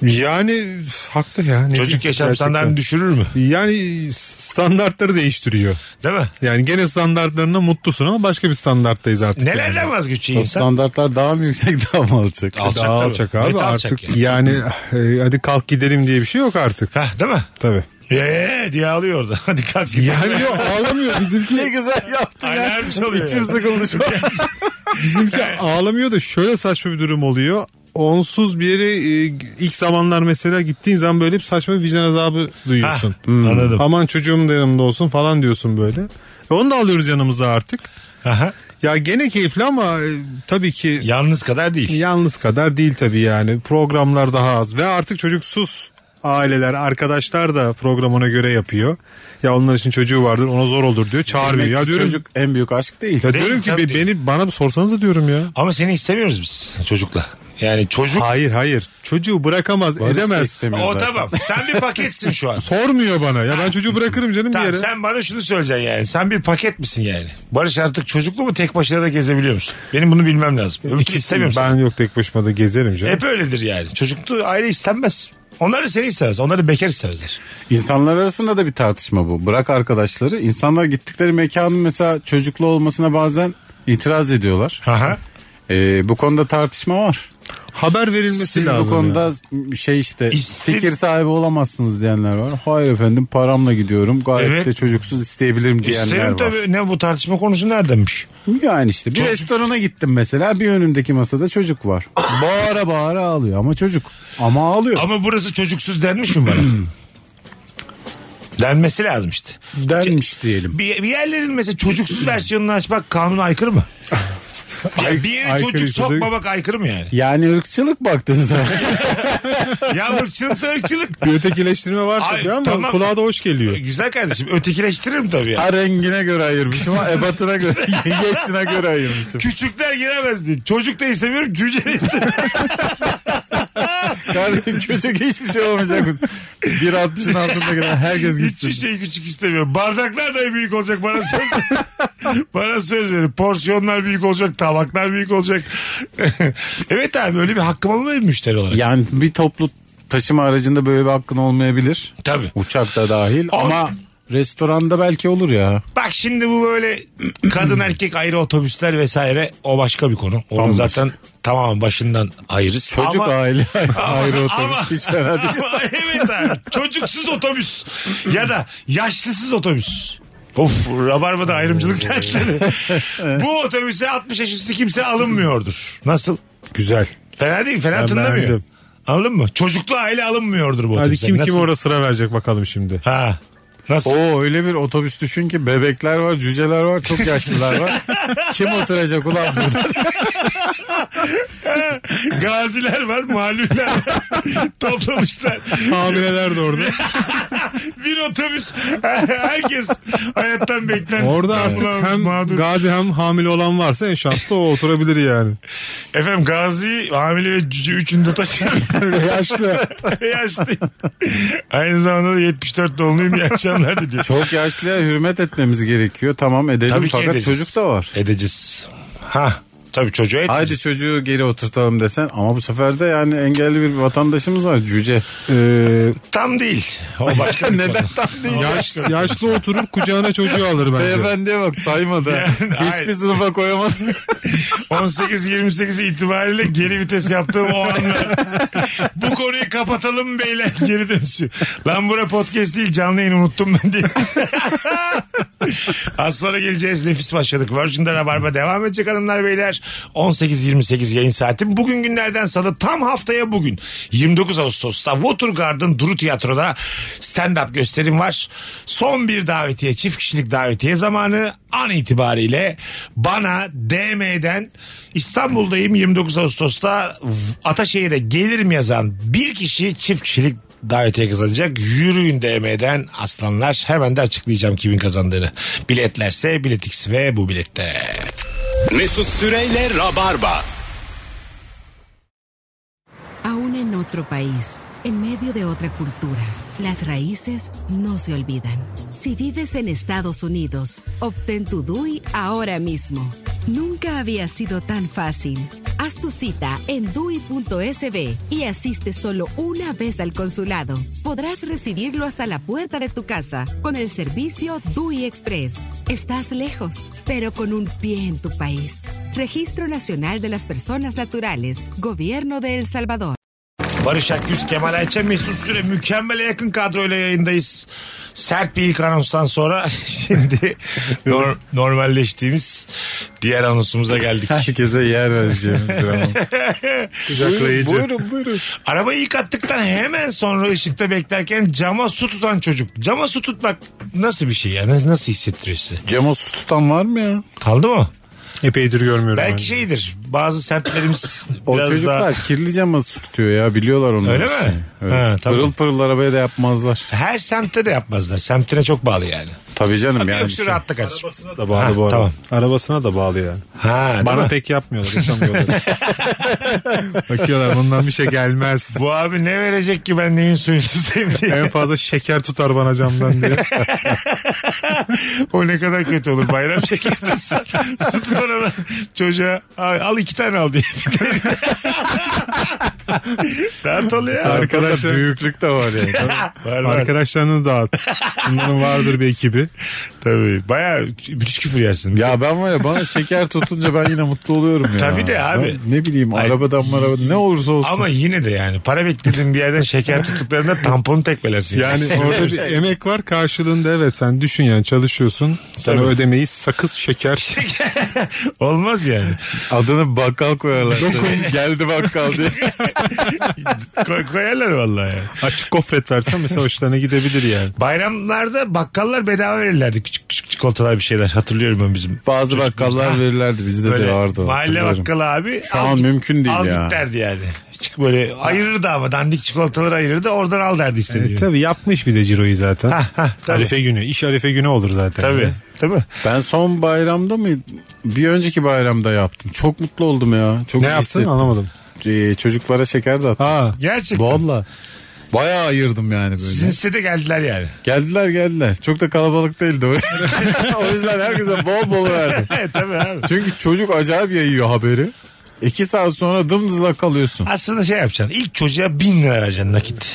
S4: Yani üf, haklı ya. Ne
S2: Çocuk
S4: diyeyim
S2: yaşam
S4: gerçekten.
S2: standartını düşürür mü?
S4: Yani standartları değiştiriyor.
S2: Değil mi?
S4: Yani gene standartlarına mutlusun ama başka bir standarttayız artık.
S2: Nelerden
S4: yani.
S2: vazgeçiyor
S3: O
S2: insan?
S3: standartlar daha mı yüksek daha mı alçak?
S2: Alçak
S4: Daha
S2: tabii.
S4: alçak abi
S2: Net alçak
S4: artık
S2: yani.
S4: yani, eh, hadi kalk gidelim diye bir şey yok artık.
S2: Hah değil mi?
S4: Tabii.
S2: Eee diye ağlıyor orada. [LAUGHS] Hadi kalk git.
S4: Yani yok ağlamıyor
S3: Ne
S4: bizimki
S3: güzel yaptın ya.
S2: Alarm çalıyor.
S3: İçim sıkıldı şu an.
S4: [LAUGHS] bizimki ağlamıyor da şöyle saçma bir durum oluyor. Onsuz bir yere eh, ilk zamanlar mesela gittiğin zaman böyle bir saçma bir vicdan azabı
S2: Hah,
S4: duyuyorsun. Hmm.
S2: Anladım.
S4: Aman çocuğum da yanımda olsun falan diyorsun böyle. E, onu da alıyoruz yanımıza artık.
S2: Aha.
S4: Ya gene keyifli ama eh, tabii ki
S2: Yalnız kadar değil.
S4: Yalnız kadar değil tabii yani. Programlar daha az ve artık çocuksuz aileler, arkadaşlar da programına göre yapıyor. Ya onlar için çocuğu vardır ona zor olur diyor. Çağırmıyor.
S3: Demek
S4: Ya
S3: ki
S4: diyorum,
S3: Çocuk en büyük aşk değil.
S4: ya
S2: Değil,
S4: diyorum ki
S2: tabii
S4: be-
S2: değil.
S4: beni bana bir sorsanız da diyorum ya.
S2: Ama seni istemiyoruz biz çocukla. Yani çocuk
S4: Hayır hayır. Çocuğu bırakamaz,
S3: Barış da
S4: edemez.
S3: istemiyor
S2: o
S3: zaten.
S2: tamam. Sen bir paketsin şu
S3: [LAUGHS]
S2: an.
S4: Sormuyor bana. Ya ben çocuğu bırakırım canım bir
S2: Tamam,
S4: yere.
S2: sen bana şunu söyleyeceksin yani. Sen bir paket misin yani? Barış artık çocuklu mu tek başına da gezebiliyor musun? Benim bunu bilmem lazım. Öbürkünü
S4: İkisini-
S2: istemiyorum.
S4: ben
S2: seni.
S4: yok tek başıma da gezerim canım.
S2: Hep öyledir yani. Çocuklu aile istenmez. Onlar da seni istemez. Onlar da bekar istemezler.
S3: İnsanlar arasında da bir tartışma bu. Bırak arkadaşları. İnsanlar gittikleri mekanın mesela çocuklu olmasına bazen itiraz ediyorlar.
S2: Aha.
S3: Ee, bu konuda tartışma var.
S4: Haber verilmesi
S3: Siz
S4: lazım.
S3: bu konuda
S4: ya.
S3: şey işte
S2: İstim-
S3: fikir sahibi olamazsınız diyenler var. Hayır efendim paramla gidiyorum. Gayet
S2: Evet.
S3: de çocuksuz isteyebilirim diyenler
S2: İsterim
S3: var.
S2: tabii. Ne bu tartışma konusu neredenmiş?
S3: Yani işte bir
S2: Çocuk-
S3: restorana gittim mesela bir önümdeki masada çocuk var. Bağıra bağıra ağlıyor ama çocuk. Ama ağlıyor.
S2: Ama burası çocuksuz denmiş mi bana? Denmesi lazım işte.
S3: Denmiş diyelim.
S2: Bir, bir yerlerin mesela çocuksuz versiyonunu açmak kanuna aykırı mı? Ya bir yere
S4: aykırı
S2: çocuk
S4: işte değil mi?
S2: sokmamak aykırı mı yani?
S3: Yani
S2: [LAUGHS]
S3: ırkçılık baktığınızda.
S2: ya ırkçılıksa ırkçılık.
S4: bir ötekileştirme var
S2: Ay,
S4: tabii ama
S2: tamam.
S4: kulağa da
S2: [LAUGHS]
S4: hoş geliyor.
S2: Güzel kardeşim ötekileştiririm tabii ya.
S3: Ha rengine göre ayırmışım ha ebatına
S2: [LAUGHS]
S3: göre yaşına göre ayırmışım.
S2: Küçükler giremez diye. Çocuk da istemiyorum cüce de istemiyorum.
S3: [LAUGHS] Kardeşim çocuk hiçbir şey olmayacak. 1.60'ın altında gelen herkes gitsin.
S2: Hiçbir şey küçük istemiyorum. Bardaklar da büyük olacak bana söz. bana söz verin. Porsiyonlar büyük olacak. Tabaklar büyük olacak. [LAUGHS] evet abi öyle bir hakkım olmuyor mu müşteri olarak?
S3: Yani bir toplu taşıma aracında böyle bir hakkın olmayabilir.
S2: Tabii.
S3: Uçakta dahil
S2: Abi-
S3: ama restoranda belki olur ya.
S2: Bak şimdi bu böyle
S3: [CLEARS THROAT]
S2: kadın erkek ayrı otobüsler vesaire o başka bir konu. Onu
S3: Bambaşka.
S2: zaten tamamen başından ayırırız.
S3: Çocuk
S2: Ama-
S4: [LAUGHS]
S3: aile ayrı
S2: Ama-
S3: otobüs
S2: ama-
S3: hiç fena değil.
S2: Ama evet abi. Çocuksuz otobüs. Ya da yaşlısız otobüs. Of rabarbada
S3: Ee.
S2: ayrımcılık
S3: [LAUGHS]
S2: dertleri. Bu otobüse 60 yaş üstü kimse alınmıyordur. Nasıl?
S4: Güzel.
S2: Fena değil fena tınlamıyor.
S4: beğendim.
S2: Anladın mı? Çocuklu aile alınmıyordur bu
S4: Hadi
S2: otobüse.
S4: kim kim
S2: Nasıl?
S4: orada sıra verecek bakalım şimdi.
S2: Ha. Nasıl?
S3: Oo öyle bir otobüs düşün ki bebekler var, cüceler var, çok yaşlılar
S4: [LAUGHS]
S3: var. Kim oturacak ulan burada?
S2: Gaziler var,
S3: [LAUGHS]
S2: mağluller var. Toplamışlar.
S4: Hamileler de orada.
S2: Bir otobüs. [LAUGHS] Herkes hayattan beklenti.
S4: Orada artık
S2: Ulan
S4: hem
S2: mağdur.
S4: gazi hem hamile olan varsa en şanslı o oturabilir yani.
S2: Efendim Gazi hamile ve cüce üçünü de taşıyan [LAUGHS]
S3: Yaşlı.
S2: yaşlıyım. Aynı zamanda da 74 doğumluyum. İyi akşamlar diliyorum.
S3: Çok yaşlıya hürmet etmemiz gerekiyor. Tamam edelim
S2: Tabii ki
S3: fakat
S2: edeceğiz.
S3: çocuk da var.
S2: Edeceğiz. Ha. Tabii çocuğa edeceğiz.
S3: Haydi çocuğu geri oturtalım desen ama bu sefer de yani engelli bir vatandaşımız var cüce.
S2: Tam değil. O başka bir Neden?
S3: tam değil?
S4: Yaş, yaşlı oturur kucağına çocuğu alır bence.
S3: Beyefendiye bak saymadı.
S2: Yani, hayır.
S3: Hiçbir sınıfa koyamadı.
S2: 18-28 itibariyle geri vites yaptığım o anlar. Bu konuyu kapatalım beyler geri dönüşü. Lan bura podcast değil canlı yayını unuttum ben diye. Az sonra geleceğiz. Nefis başladık. Virgin'de Rabarba devam edecek hanımlar beyler. 18-28 yayın saati. Bugün günlerden salı tam haftaya bugün. 29 Ağustos'ta Watergarden Duru Tiyatro'da stand-up gösterim var. Son bir davetiye, çift kişilik davetiye zamanı an itibariyle bana DM'den İstanbul'dayım 29 Ağustos'ta Ataşehir'e gelirim yazan bir kişi çift kişilik davetiye kazanacak. Yürüyün DM'den aslanlar. Hemen de açıklayacağım kimin kazandığını. Biletlerse biletix ve bu bilette.
S1: Mesut Süreyle Rabarba.
S5: Aún en otro país, en medio de otra cultura, Las raíces no se olvidan. Si vives en Estados Unidos, obtén tu DUI ahora mismo. Nunca había sido tan fácil. Haz tu cita en DUI.sb y asiste solo una vez al consulado. Podrás recibirlo hasta la puerta de tu casa con el servicio DUI Express. Estás lejos, pero con un pie en tu país. Registro Nacional de las Personas Naturales, Gobierno de El Salvador.
S2: Barış Akgüz, Kemal Ayça, Mesut Süre mükemmele yakın kadroyla yayındayız. Sert bir ilk anonstan sonra [LAUGHS] şimdi nor- normalleştiğimiz diğer anonsumuza
S3: [LAUGHS]
S2: geldik.
S3: Herkese yer vereceğimiz bir an.
S4: Kucaklayıcı.
S3: Buyurun buyurun.
S2: Arabayı yıkattıktan hemen sonra ışıkta beklerken cama su tutan çocuk. Cama su tutmak nasıl bir şey ya? Nasıl, nasıl hissettiriyor size?
S3: Cama su tutan var mı ya?
S2: Kaldı mı?
S4: Epeydir görmüyorum. ben.
S2: Belki şeydir. Bazı semtlerimiz
S3: O
S2: biraz
S3: çocuklar
S2: daha...
S3: kirli cama su tutuyor ya biliyorlar onu.
S2: Öyle mi?
S3: Evet.
S2: Ha, tabii.
S3: Pırıl pırıl arabaya da yapmazlar.
S2: Her semtte de yapmazlar. Semtine çok bağlı yani.
S3: Tabii canım
S2: Abi
S3: yani.
S2: yok şu
S3: şey-
S2: rahatlık açık.
S4: Arabasına da bağlı
S2: Ha,
S4: bu arada.
S2: tamam.
S4: Arabasına da bağlı yani.
S2: Ha, değil
S4: Bana
S2: mi?
S4: pek yapmıyorlar,
S3: [LAUGHS]
S4: uçamıyorlar. Bakıyorlar bundan bir şey gelmez.
S2: Bu abi ne verecek ki ben neyin suyunu tutayım diye.
S4: En fazla şeker tutar bana
S3: [LAUGHS]
S4: camdan diye.
S2: [LAUGHS] O ne kadar kötü olur bayram [LAUGHS] şekerinde su tutan adam çocuğa "Ay, al iki tane al diye. [LAUGHS] Dert oluyor.
S4: Arkadaşlar-
S3: Arkadaşlar büyüklük de var yani.
S4: [LAUGHS]
S2: Var var.
S4: Arkadaşlarını dağıt. Bunların vardır bir ekibi.
S2: Tabii. Baya müthiş küfür yersin.
S3: Ya ben var ya bana şeker tutunca ben yine mutlu oluyorum ya.
S2: Tabii de abi.
S3: Ben ne bileyim
S2: Ay-
S3: arabadan marabadan ne olursa olsun.
S2: Ama yine de yani para beklediğin bir yerden şeker tuttuklarında tamponu tekmelersin. [LAUGHS]
S4: Yani orada bir emek var karşılığında evet sen düşün yani çalışıyorsun. Sana
S2: Tabii.
S4: ödemeyi sakız şeker.
S2: Olmaz yani.
S3: Adını bakkal koyarlar.
S4: Dokun.
S3: Geldi bakkal diye.
S2: Koy- koyarlar vallahi yani.
S4: Açık gofret versen mesela hoşlarına gidebilir yani.
S2: Bayramlarda bakkallar bedava verirlerdi. Küçük küçük çikolatalar bir şeyler. Hatırlıyorum ben bizim.
S3: Bazı bakkallar
S2: Ha.
S3: verirlerdi bizde de
S2: Böyle
S3: vardı. o,
S2: mahalle
S3: hatırlıyorum.
S2: bakkalı abi.
S3: Şu
S2: al
S3: an
S2: git-
S3: mümkün değil
S2: al
S3: ya.
S2: git derdi yani. Çık böyle ayırırdı ama dandik çikolataları ayırırdı oradan al derdi istediğini.
S4: E, tabii yapmış bir de ciroyu zaten.
S2: Ha, ha, tabii.
S4: Arife günü. iş arife günü olur zaten.
S2: Tabii. Tabii.
S3: Ben son bayramda mı bir önceki bayramda yaptım. Çok mutlu oldum ya. Çok
S4: Ne
S3: iyi
S4: yaptın
S3: hissettim.
S4: anlamadım.
S3: Ee, çocuklara şeker de attım.
S4: Ha.
S2: Gerçekten.
S3: Valla. Bayağı ayırdım yani böyle.
S2: Sizin sitede geldiler
S3: [LAUGHS]
S2: yani.
S3: Geldiler geldiler. Çok da kalabalık değildi. o. o yüzden herkese bol bol verdim.
S2: Evet tabii abi.
S3: Çünkü çocuk acayip yayıyor haberi. İki saat sonra dımdızlak kalıyorsun.
S2: Aslında şey yapacaksın. İlk çocuğa bin lira vereceksin nakit.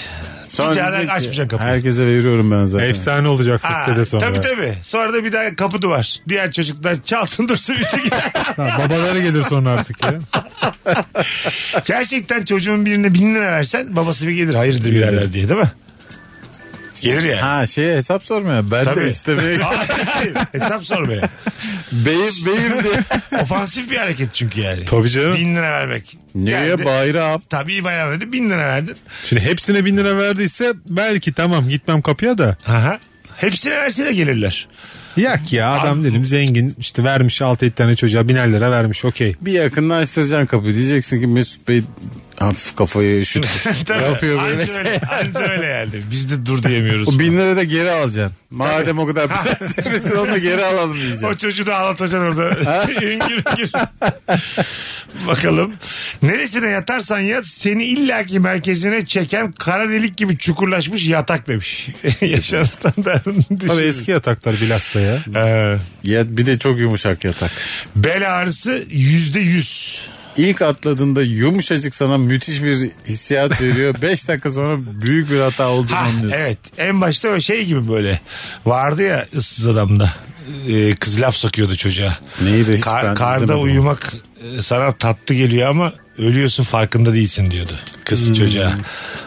S3: Sonra
S2: Bir daha
S3: diyecek ki,
S2: açmayacaksın kapıyı.
S3: Herkese veriyorum ben zaten.
S4: Efsane olacaksın
S2: Aa,
S4: sitede sonra.
S2: Tabii tabii. Sonra da bir daha kapı duvar. Diğer çocuklar çalsın dursun bitti gider.
S3: [LAUGHS]
S4: Ha, babaları gelir sonra artık ya.
S2: Gerçekten çocuğun birine bin lira versen babası bir gelir hayırdır birader diye değil mi? Gelir yani.
S3: Ha şeye hesap sormaya. Ben
S2: Tabii.
S3: de istemeye
S2: [LAUGHS] Hayır, hayır. Hesap sormaya.
S3: beyim beyim diye.
S2: Ofansif bir hareket çünkü yani.
S4: Tabii canım.
S2: Bin lira vermek.
S3: Niye
S2: Geldi.
S3: bayram?
S2: Tabii bayağı verdi. Bin lira verdin.
S4: Şimdi hepsine bin lira verdiyse belki tamam gitmem kapıya da.
S2: Aha. Hepsine verse de gelirler.
S4: Yak ya adam dedim zengin işte vermiş 6-7 tane çocuğa biner lira vermiş okey.
S3: Bir yakınlaştıracaksın kapıyı. Diyeceksin ki Mesut Bey hafif kafayı üşütmüş.
S2: [LAUGHS] Tabii.
S3: yapıyor böyle.
S2: Anca öyle, anca öyle yani. Biz de dur diyemiyoruz.
S3: O bin lira da geri alacaksın. Madem
S2: [LAUGHS]
S3: o kadar prensemisin onu da geri alalım
S2: O
S3: diyeceksin.
S2: çocuğu da ağlatacaksın orada. [LAUGHS] üngür üngür. Bakalım. Neresine yatarsan yat seni illaki merkezine çeken kara delik gibi çukurlaşmış yatak demiş. [LAUGHS] Yaşam standartını
S4: Tabii
S2: düşün.
S4: eski yataklar bilhassa ya.
S2: Ee,
S3: Ya, bir de çok yumuşak yatak.
S2: bel ağrısı yüzde yüz.
S3: İlk atladığında yumuşacık sana müthiş bir
S2: [LAUGHS]
S3: hissiyat veriyor. 5 dakika sonra büyük bir hata olduğunu
S2: Ha,
S3: anlıyorsun.
S2: evet en başta o şey gibi böyle vardı ya ıssız adamda Ee, kız laf sokuyordu çocuğa.
S3: Neydi? Hiç
S2: Kar-
S3: ben izlemedim
S2: karda
S3: onu.
S2: uyumak e, sana tatlı geliyor ama ölüyorsun farkında değilsin diyordu
S3: Hmm.
S2: kız çocuğa.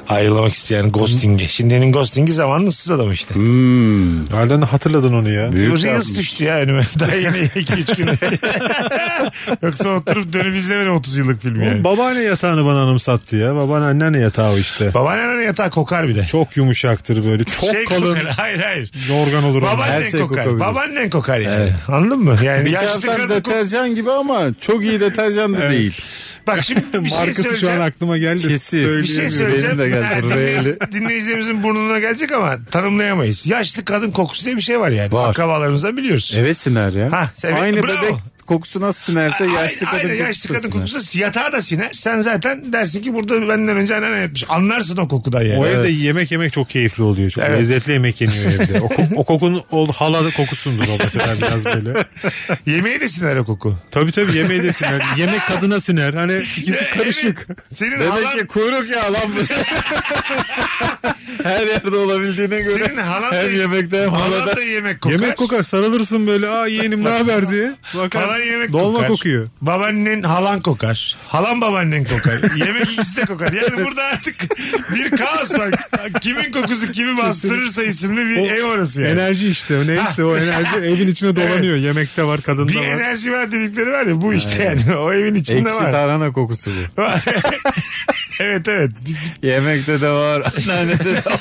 S2: Ayrılmak isteyen ghosting'i. Şimdinin ghosting'i zamanında ıssız adam işte.
S4: Nereden hatırladın onu ya?
S3: Büyük
S2: Reels
S3: yapmış.
S2: düştü ya önüme. [LAUGHS] Daha yeni 2-3 gün [LAUGHS] önce. Yoksa oturup dönüp izlemedim 30 yıllık filmi
S4: Oğlum
S2: yani.
S4: babaanne yatağını bana anımsattı ya. Babaanne anneanne yatağı o işte.
S2: Babaannenin yatağı kokar bir de.
S4: Çok yumuşaktır böyle. Çok
S2: Şey
S4: kalın.
S2: kokar. [LAUGHS] Hayır hayır.
S4: Yorgan olur. onun.
S2: Babaannen
S3: her şey
S2: kokar.
S3: kokabilir.
S2: Babaannen kokar yani. Anladın mı? Yani
S3: Bir
S2: yaşlı
S3: taraftan
S2: kadın kok-
S3: deterjan gibi ama çok iyi deterjan da değil.
S2: Bak
S3: [LAUGHS]
S2: şimdi bir şey
S4: Markası şu an
S2: söyleyeceğim.
S4: aklıma geldi.
S3: Kesif.
S4: Söyleyeyim
S2: Bir şey
S4: mi?
S2: söyleyeceğim.
S3: Benim de geldi.
S2: Ha, [LAUGHS] dinleyici-
S3: Reyli.
S2: dinleyicilerimizin burnuna gelecek ama tanımlayamayız. Yaşlı kadın kokusu diye bir şey var yani.
S3: Var.
S2: Akrabalarımızdan biliyoruz.
S3: Evet Siner ya.
S2: Ha, evet.
S3: Aynı
S2: Bravo.
S3: bebek kokusu nasıl sinerse yaşlı
S2: Aynen,
S3: kadın
S2: aynen,
S3: kokusu
S2: yaşlı
S3: da
S2: kadın
S3: siner.
S2: kokusu da si- yatağa da siner. Sen zaten dersin ki burada benden önce anneanne yapmış. Anlarsın o kokudan yani.
S4: O evde yemek yemek çok keyifli oluyor. Çok
S2: Evet.
S4: lezzetli yemek yeniyor evde. O, ko- o kokun o hala kokusundur o
S3: [LAUGHS]
S4: mesela biraz böyle.
S2: [LAUGHS] Yemeği de siner o koku.
S4: Tabii tabii yemeği de siner. Yemek kadına siner. Hani ikisi karışık.
S2: Evet. Senin
S3: Demek
S2: halan,
S3: ki kuyruk ya lan
S2: [LAUGHS]
S3: bu. Her yerde olabildiğine göre.
S2: senin halan
S3: Her
S2: da,
S3: yemekte hem
S2: halan
S3: halada.
S2: da yemek kokar.
S4: Yemek kokar sarılırsın böyle. Aa yeğenim ne haber diye. Bakar,
S2: Halan yemek
S4: dolma
S2: kokar.
S4: kokuyor.
S2: Babaannen halan kokar. Halan babaannen
S4: [LAUGHS]
S2: kokar. yemek ikisi de kokar. Yani burada artık bir kaos var. Kimin kokusu kimi bastırırsa isimli bir
S4: O
S2: ev orası yani.
S4: Enerji işte. Neyse o enerji evin içine dolanıyor. Yemekte var, kadında
S2: bir
S4: var.
S2: enerji var dedikleri var ya bu işte yani. O evin içinde
S3: Eksi
S2: var.
S3: tarhana kokusu bu.
S2: [LAUGHS] evet
S4: [LAUGHS]
S2: evet.
S3: Yemekte de var, anneannede de var,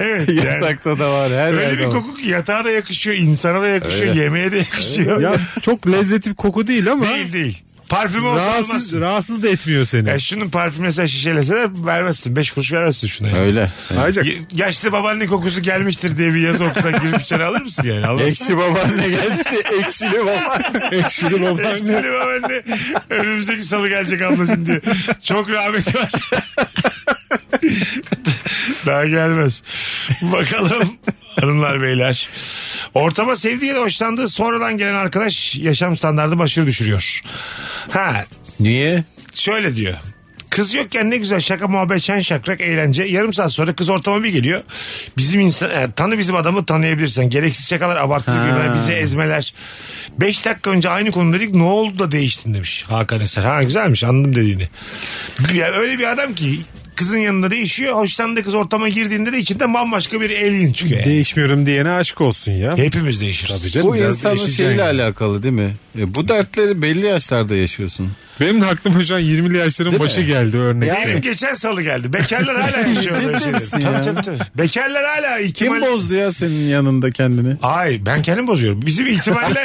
S2: Evet. yani.
S3: yatakta da var, her
S2: Öyle
S3: yerde
S2: bir
S3: var.
S2: koku ki yatağa da yakışıyor, insana da yakışıyor, yemeğe de yakışıyor.
S4: Ya çok lezzetli bir koku değil ama
S2: Değil değil. Parfüm olsa
S4: rahatsız,
S2: almazsın.
S4: rahatsız da etmiyor seni.
S2: Ya şunun parfüm mesela şişeleseler vermezsin. Beş kuruş vermezsin şuna. yani.
S3: Öyle.
S4: Ayrıca
S2: Ye- Yaşlı babaanne kokusu gelmiştir diye bir yazı okusan girip içeri alır mısın yani? Almazsın.
S3: Ekşi babaanne geldi de ekşili babaanne.
S4: [LAUGHS] ekşili babaanne.
S2: Eksili babaanne önümüzdeki salı gelecek ablacığım diye. Çok rahmet var. [LAUGHS] Daha gelmez. Bakalım hanımlar beyler. Ortama sevdiği ya da hoşlandığı sonradan gelen arkadaş yaşam standartı başarı düşürüyor. Ha
S3: Niye?
S2: şöyle diyor. Kız yokken ne güzel şaka muhabbet şen şakrak eğlence. Yarım saat sonra kız ortama bir geliyor. Bizim insan e, tanı bizim adamı tanıyabilirsen. Gereksiz şakalar abartılı gülmeler bizi ezmeler. Beş dakika önce aynı konudaydık ne oldu da değiştin demiş Hakan Eser. Ha güzelmiş anladım dediğini. Ya öyle bir adam ki kızın yanında değişiyor. Hoşlandığı kız ortama girdiğinde de içinde bambaşka bir alien çıkıyor. yani.
S4: Değişmiyorum diyene aşk olsun ya.
S2: Hepimiz değişiriz.
S4: canım.
S3: Bu
S4: biraz
S3: insanın
S4: değişeceksin
S3: şeyle
S4: yani.
S3: alakalı değil mi? E, bu dertleri belli yaşlarda yaşıyorsun.
S4: Benim de aklıma şu an 20'li yaşların başı geldi örnekte.
S2: Benim geçen salı geldi. Bekarlar
S3: [LAUGHS]
S2: hala yaşıyor böyle
S3: Ciddi
S2: şeyleri.
S3: misin
S2: Tabii,
S3: ya?
S2: tabii, tabii. Bekarlar hala
S3: Kim
S2: ihtimal...
S3: bozdu ya senin yanında kendini?
S2: Ay ben kendim bozuyorum. Bizim ihtimaller... [LAUGHS]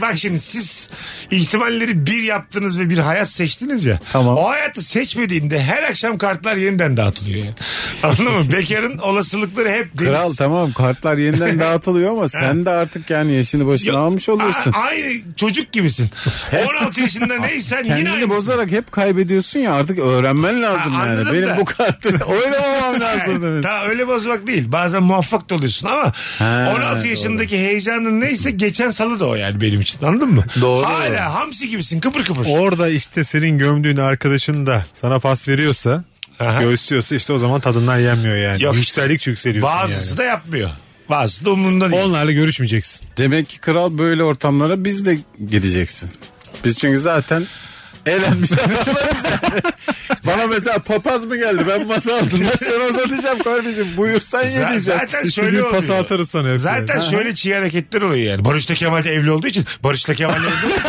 S2: Bak şimdi siz ihtimalleri bir yaptınız ve bir hayat seçtiniz ya.
S3: Tamam.
S2: O hayatı seçmediğinde her akşam kartlar yeniden dağıtılıyor. Yani. [LAUGHS] Anladın mı? Bekarın olasılıkları hep deniz.
S3: Kral tamam
S2: [LAUGHS]
S3: kartlar yeniden dağıtılıyor ama sen de artık yani yaşını başına
S2: Yok,
S3: almış oluyorsun.
S2: a- aynı çocuk gibisin. 16
S3: [LAUGHS]
S2: yaşında neysen yine
S3: Kendini
S2: aynısın.
S3: bozarak hep kaybediyorsun ya artık öğrenmen lazım
S2: Ha,
S3: yani.
S2: anladım
S3: Benim
S2: da. [LAUGHS]
S3: bu kartı oynamamam lazım demek.
S2: Daha öyle bozmak değil. Bazen muvaffak da oluyorsun ama
S3: Ha,
S2: 16 yaşındaki heyecanın neyse geçen salı da o yani benim için. Anladın mı?
S3: Doğru.
S2: Hala hamsi gibisin kıpır kıpır.
S4: Orada işte senin gömdüğün arkadaşın da sana pas veriyorsa,
S2: Aha.
S4: göğüslüyorsa işte o zaman tadından yenmiyor yani.
S2: Yok işte.
S4: Yükseldikçe yükseliyorsun
S2: Bazısı da yapmıyor. Bazısı da umurunda değil.
S4: yani. Onlarla görüşmeyeceksin.
S3: Demek ki kral böyle ortamlara biz de gideceksin. Biz çünkü zaten eğlenmiş adamlarız yani.
S2: [LAUGHS]
S3: Bana mesela papaz mı geldi? Ben masa aldım. Ben sana uzatacağım kardeşim. Buyursan ye
S2: Z-
S3: diyeceğim.
S2: zaten
S4: İstediğin
S2: şöyle oluyor.
S4: pası atarız sana. hep
S2: Zaten
S4: yani.
S2: şöyle çiğ hareketler oluyor yani. Barış'ta Kemal de evli olduğu için Barış'ta Kemal evli
S3: [LAUGHS]
S2: oluyor.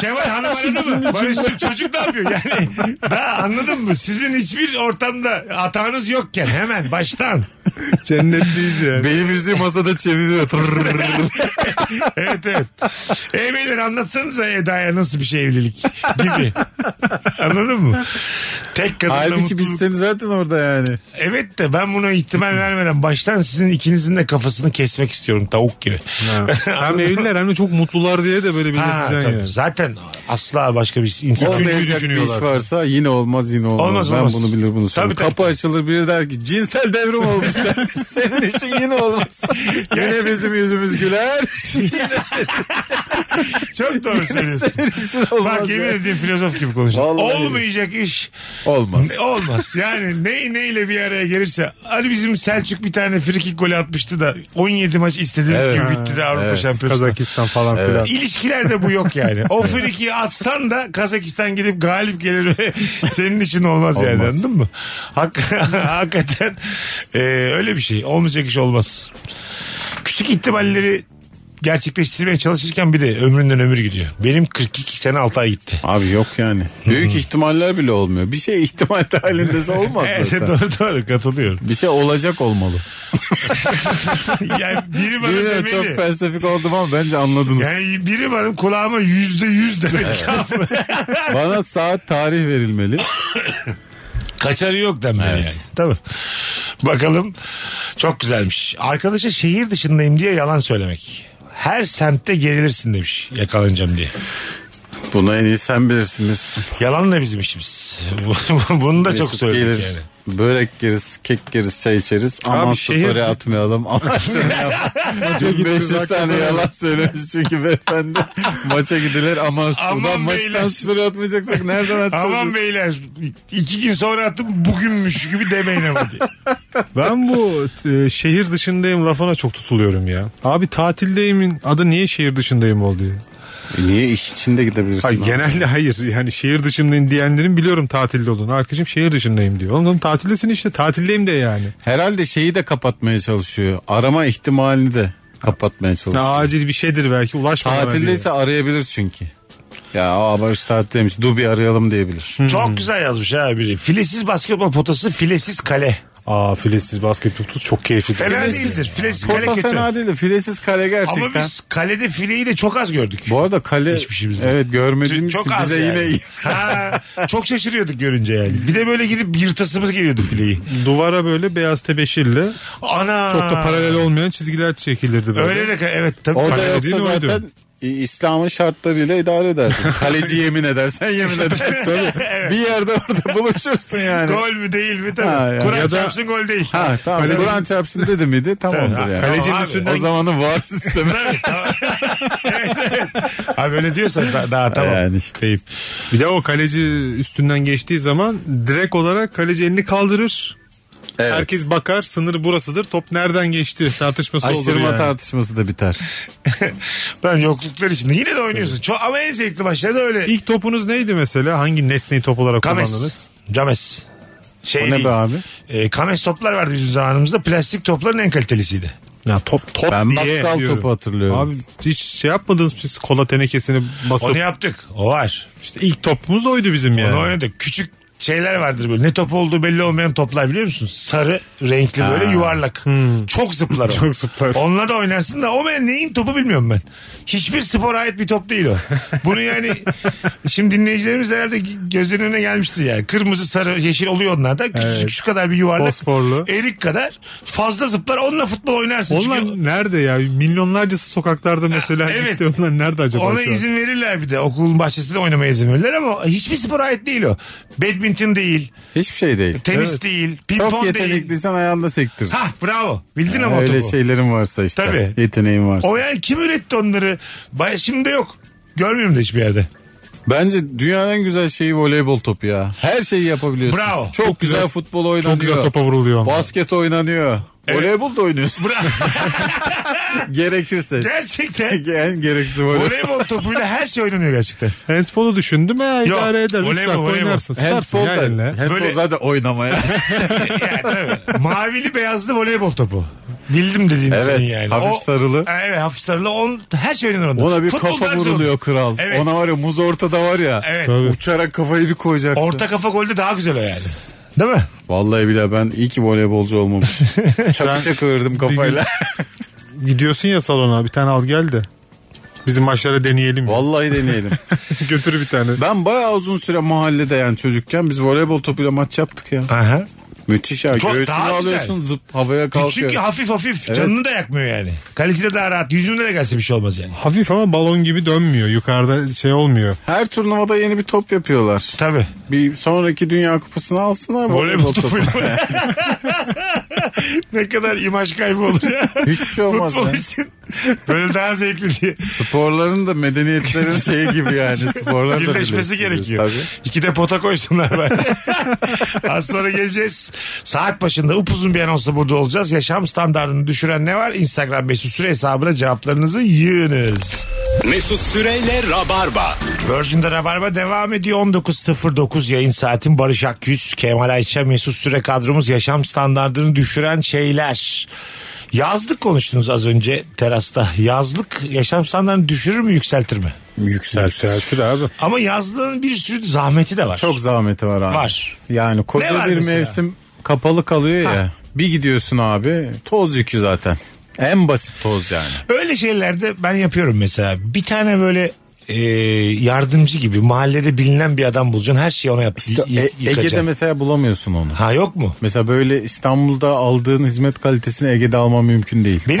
S2: Kemal hanım aradı mı? Barış'cığım çocuk ne yapıyor? Yani daha anladın mı? Sizin hiçbir ortamda atağınız yokken hemen baştan.
S4: Cennetliyiz yani.
S3: Benim yüzüğü masada
S4: [LAUGHS]
S3: çeviriyor. Tırrrr.
S2: Evet evet. Ey beyler anlatsanıza Eda'ya nasıl bir şey evlilik gibi. Anladın mı? Tek kadınla
S3: Halbuki
S2: mutluluk.
S3: biz seni zaten orada yani.
S2: Evet de ben buna ihtimal vermeden baştan sizin ikinizin de kafasını kesmek istiyorum tavuk gibi.
S4: hem evliler hem de çok mutlular diye de böyle bir
S2: Ha, tabii.
S4: yani.
S2: Zaten asla başka bir insan.
S3: Olmayacak bir iş
S4: düşünüyorlar.
S3: varsa yine olmaz yine olmaz.
S2: Olmaz,
S3: ben
S2: olmaz.
S3: bunu bilir bunu
S2: Tabii,
S3: söylerim.
S2: tabii.
S3: Kapı açılır biri der ki cinsel devrim olmuş der. [LAUGHS] Senin işin yine olmaz. [LAUGHS] yine bizim yüzümüz güler.
S2: [LAUGHS] Çok doğru söylüyorsun.
S3: Senin işin olmaz.
S2: Bak yemin
S3: ya.
S2: ediyorum filozof gibi konuşuyorsun.
S3: Vallahi
S2: Olmayacak iş
S3: Olmaz.
S2: Ne- olmaz. Yani ne neyle bir araya gelirse. Hani bizim Selçuk bir tane frikik golü atmıştı da 17 maç istediğimiz
S3: Evet.
S2: gibi bitti de Avrupa
S3: Evet.
S2: Şampiyonası.
S4: Kazakistan falan
S3: [LAUGHS]
S2: [LAUGHS]
S4: filan.
S2: İlişkilerde bu yok yani. O frikiyi atsan da Kazakistan gidip galip gelir ve [LAUGHS] senin için olmaz, yani
S3: Olmaz.
S2: anladın mı? Hak, [LAUGHS] hakikaten e, öyle bir şey. Olmayacak iş olmaz. Küçük ihtimalleri gerçekleştirmeye çalışırken bir de ömründen ömür gidiyor. Benim 42 sene 6 ay gitti.
S3: Abi yok yani. Büyük ihtimaller bile olmuyor. Bir şey ihtimal [LAUGHS] halindese olmaz
S2: Evet
S3: zaten.
S2: doğru [LAUGHS] doğru
S3: [LAUGHS]
S2: katılıyorum.
S3: Bir şey olacak olmalı.
S2: Yani biri bana
S3: [LAUGHS] Yine çok
S2: demeli.
S3: felsefik oldum ama bence anladınız.
S2: Yani biri bana kulağıma yüzde yüz demeli. Tamam
S3: [LAUGHS]
S2: mı?
S3: Bana saat tarih verilmeli.
S2: Kaçarı yok demeli
S3: Evet.
S2: yani. Tamam. Bakalım. Çok güzelmiş. Arkadaşa şehir dışındayım diye yalan söylemek. Her semtte gerilirsin demiş yakalanacağım diye.
S3: Bunu en iyi sen bilirsin Mesut'um.
S2: Yalan da bizim işimiz. [LAUGHS] Bunu da çok
S3: Mesut
S2: söyledik
S3: gelir,
S2: yani.
S3: Börek yeriz, kek yeriz, çay içeriz. Aman
S4: şehir-
S2: [LAUGHS]
S3: story atmayalım. Aman [LAUGHS] şunu yapmayalım. 500 tane yalan söylemiş
S2: [LAUGHS]
S3: çünkü beyefendi. Maça gidilir aman
S2: Aman
S3: story'dan maçtan
S2: beyler.
S3: story atmayacaksak nereden atacağız?
S2: Aman beyler iki gün sonra attım bugünmüş gibi demeyin ama diye.
S4: Ben bu e, şehir dışındayım lafına çok tutuluyorum ya. Abi tatildeyim'in adı niye şehir dışındayım oldu ya?
S3: E Niye iş içinde gidebilirsin?
S4: Hayır, genelde hayır. Yani şehir dışındayım diyenlerin biliyorum tatilde olduğunu. Arkadaşım şehir dışındayım diyor. Oğlum oğlum tatildesin işte tatildeyim de yani.
S3: Herhalde şeyi de kapatmaya çalışıyor. Arama ihtimalini de kapatmaya çalışıyor.
S4: Ya acil bir şeydir belki ulaşma. bana
S3: Tatildeyse
S4: diye.
S3: arayabilir çünkü. Ya o Barış tatildeymiş. Dubi arayalım diyebilir.
S2: [LAUGHS] Çok güzel yazmış ha biri. Filesiz basketbol potası, filesiz kale.
S4: Aa filesiz basket tutuz çok keyifli.
S2: Fena
S4: Filesiz-
S2: değildir. Filesiz kale
S3: Kota
S2: kötü.
S3: fena değil de filesiz kale gerçekten.
S2: Ama biz kalede fileyi de çok az gördük.
S3: Bu arada kale
S2: Hiçbir şeyimiz yok.
S3: evet görmediğimiz
S2: çok
S3: için
S2: az
S3: bize
S2: yani.
S3: yine iyi.
S2: ha, çok şaşırıyorduk görünce yani. Bir de böyle gidip yırtasımız geliyordu fileyi.
S4: Duvara böyle beyaz tebeşirle
S2: Ana.
S4: çok da paralel olmayan çizgiler çekilirdi böyle.
S2: Öyle de ka- evet tabii.
S3: O da
S2: Kale-
S3: yoksa
S4: dediğin oydu.
S3: zaten İ- İslam'ın şartlarıyla idare edersin. Kaleci yemin edersen yemin edersin. Bir yerde orada buluşursun yani.
S2: Gol mü değil mi tabii.
S3: Ha, yani.
S2: Kur'an
S3: Ya da-
S2: çarpsın gol değil.
S3: Ha tamam.
S4: Kaleci-
S3: Kur'an çarpsın dedi miydi? Tamamdır
S2: Ha,
S3: yani.
S2: kalecinin
S3: Tamam abi.
S2: üstünden-
S3: O zamanın var sistemi.
S2: Tabii, [LAUGHS] tamam. evet, evet. Abi öyle diyorsan da- daha tamam.
S3: Yani işte.
S2: Deyip. [LAUGHS]
S4: Bir de o kaleci üstünden geçtiği zaman direkt olarak kaleci elini kaldırır.
S3: Evet.
S4: Herkes bakar sınır burasıdır. Top nereden geçti tartışması olur
S3: Aşırma
S4: yani.
S3: tartışması da biter.
S2: Lan yokluklar içinde yine de oynuyorsun. Çok, ama en zevkli maçlarda öyle.
S4: İlk topunuz neydi mesela? Hangi nesneyi top olarak
S2: Kames.
S4: kullandınız?
S2: Cames. Şey
S3: O ne
S2: değil.
S3: be abi?
S2: E, Kames toplar vardı bizim zamanımızda. Plastik topların en kalitelisiydi.
S4: Ya top top
S3: Ben
S4: diye
S3: bakkal
S4: diyorum.
S3: topu hatırlıyorum.
S4: Abi hiç şey yapmadınız mı siz kola tenekesini basıp
S2: Onu yaptık. O var.
S4: işte ilk topumuz oydu bizim yani.
S2: Onu oynadık. Küçük şeyler vardır böyle. Ne top olduğu belli olmayan toplar biliyor musun? Sarı, renkli böyle yuvarlak. Çok zıplar o.
S4: Hmm. [LAUGHS] Çok zıplar.
S2: Onunla da oynarsın da o ben neyin topu bilmiyorum ben. Hiçbir spora ait bir top değil
S4: [LAUGHS]
S2: o. Bunu yani şimdi dinleyicilerimiz herhalde gözlerinin önüne gelmiştir yani. Kırmızı, sarı, yeşil oluyor onlar da. Küçük, şu kadar bir yuvarlak.
S4: Fosforlu.
S2: Erik kadar fazla zıplar. Onunla futbol oynarsın.
S4: Onlar
S2: Çünkü
S4: nerede ya? Milyonlarcası sokaklarda mesela
S2: Evet.
S4: gitti. Onlar nerede acaba
S2: Ona
S4: şu an?
S2: izin verirler bir de. Okulun bahçesinde oynamaya izin verirler ama hiçbir spora ait değil o. Badminton değil,
S3: Hiçbir şey değil.
S2: tenis
S3: Evet.
S2: değil, ping
S3: Çok
S2: pong değil.
S3: yetenekliysen ayağında sektir.
S2: Ha bravo. Bildin ama o
S3: Öyle şey-
S2: topu.
S3: şeylerin varsa işte.
S2: Tabii.
S3: Yeteneğin varsa.
S2: O yani kim üretti onları? Bay- Şimdi yok. Görmüyorum da hiçbir yerde.
S3: Bence dünyanın en güzel şeyi voleybol topu ya. Her şeyi yapabiliyorsun.
S2: Bravo.
S3: Çok, güzel, futbol oynanıyor.
S4: Çok güzel topa vuruluyor. ama.
S3: Basket oynanıyor. Voleybol da oynuyorsun.
S2: Bravo.
S3: Gerekirse.
S2: gerçekten
S3: en gereksiz [LAUGHS] voleybol.
S2: voleybol topuyla her şey oynanıyor gerçekten.
S4: Handbolu düşündüm ya
S2: Yok,
S4: idare eder. Üç
S2: voleybol,
S4: dakika
S2: voleybol.
S4: oynarsın. Tutarsın
S3: Handball
S4: ya
S3: da,
S4: eline.
S3: handball
S2: Böyle-
S3: zaten oynamaya.
S2: Yani tabii. Mavili beyazlı voleybol topu. Bildim dediğin
S3: Evet,
S2: senin yani.
S3: hafif sarılı.
S2: Ha, Evet hafif sarılı. On, her şey oynanır onda.
S3: Ona bir
S2: Futbol
S3: kafa
S2: tarzı
S3: vuruluyor
S2: olur.
S3: kral.
S2: Evet.
S3: Ona var ya muz ortada var ya.
S2: Evet.
S4: Tabii.
S3: Uçarak kafayı bir koyacaksın.
S2: Orta kafa golde daha güzel o yani. Değil mi?
S3: Vallahi bile ben iyi ki voleybolcu
S4: [LAUGHS]
S3: olmamışım. Çakı çakı verdim kafayla.
S4: Gidiyorsun ya salona bir tane al gel de. Bizim maçlara deneyelim.
S3: [LAUGHS]
S4: ya.
S3: Vallahi deneyelim.
S4: [LAUGHS] Götür bir tane.
S3: Ben bayağı uzun süre mahallede yani çocukken biz voleybol topuyla maç yaptık ya.
S2: Aha.
S3: Müthiş ya.
S2: Çok
S3: Göğsünü
S2: daha güzel.
S3: alıyorsun zıp havaya kalkıyor.
S2: Çünkü hafif hafif. Canını da yakmıyor yani. Kaleci de daha rahat. Yüzüne de gelse bir şey olmaz yani.
S4: Hafif ama balon gibi dönmüyor. Yukarıda şey olmuyor.
S3: Her turnuvada yeni bir top yapıyorlar.
S2: Tabii.
S3: Bir sonraki Dünya Kupası'nı alsınlar.
S2: Voleybol topu. [LAUGHS] ne kadar imaj kaybı olur ya.
S3: [LAUGHS] Hiçbir şey [LAUGHS] olmaz.
S2: Futbol
S3: ya.
S2: için. Böyle daha zevkli diye.
S3: Sporların da medeniyetlerin şeyi
S2: [LAUGHS]
S3: gibi yani. Sporlar da
S2: Birleşmesi
S3: birleştiririz
S2: gerekiyor. İki de pota koysunlar bari. [LAUGHS] Az sonra geleceğiz. Saat başında upuzun bir anonsla burada olacağız. Yaşam standartını düşüren ne var? Instagram mesut süre hesabına cevaplarınızı yığınız.
S1: Mesut Süreyle Rabarba.
S2: Virgin'de Rabarba devam ediyor. 19.09 yayın saatin Barış Akyüz, Kemal Ayça, Mesut Süre kadromuz yaşam standartını düşüren şeyler. Yazlık konuştunuz az önce terasta. Yazlık yaşam standartını düşürür mü yükseltir mi?
S4: Yükseltir abi.
S2: Ama yazlığın bir sürü zahmeti de var.
S3: Çok zahmeti var abi.
S2: Var.
S3: Yani koca
S2: Ne var
S3: bir
S2: mesela?
S3: mevsim kapalı kalıyor ya. Bir gidiyorsun abi toz yükü zaten. En basit toz yani.
S2: Öyle şeylerde ben yapıyorum mesela. Bir tane böyle e, yardımcı gibi mahallede bilinen bir adam bulacaksın. Her şeyi ona yap.
S3: İşte
S2: y- y-
S3: E- Ege'de
S2: yıkacaksın.
S3: mesela bulamıyorsun onu.
S2: Ha yok mu?
S3: Mesela böyle İstanbul'da aldığın hizmet kalitesini Ege'de alman mümkün değil.
S2: Benim-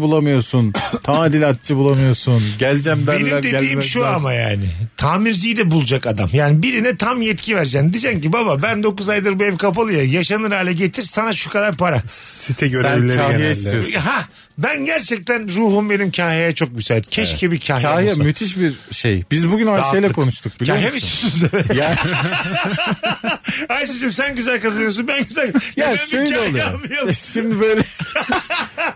S2: [COUGHS]
S3: bulamıyorsun, tadilatçı bulamıyorsun. Geleceğim derler,
S2: Benim dediğim
S3: gelmezler.
S2: şu ama yani. Tamirciyi de bulacak adam. Yani birine tam yetki vereceksin. Diyeceksin ki baba ben 9 aydır bu ev kapalı ya. Yaşanır hale getir sana şu kadar para.
S4: Site
S3: Sen
S4: görevlileri
S3: kahya
S4: genelde.
S3: istiyorsun.
S2: Ha ben gerçekten ruhum benim kahyaya çok müsait. Keşke bir kahya,
S3: Kahya
S2: olsa.
S3: müthiş bir şey. Biz bugün Ayşe'yle
S2: Rahatlık.
S3: konuştuk biliyor
S2: Kahya mı
S3: musun?
S2: istiyorsunuz?
S4: [LAUGHS]
S3: Ya-
S2: [LAUGHS] Ayşe'cim sen güzel kazanıyorsun ben güzel.
S3: Ya
S2: Neden bir
S3: şöyle
S2: kahya
S3: oluyor.
S2: almayalım?
S3: Şimdi böyle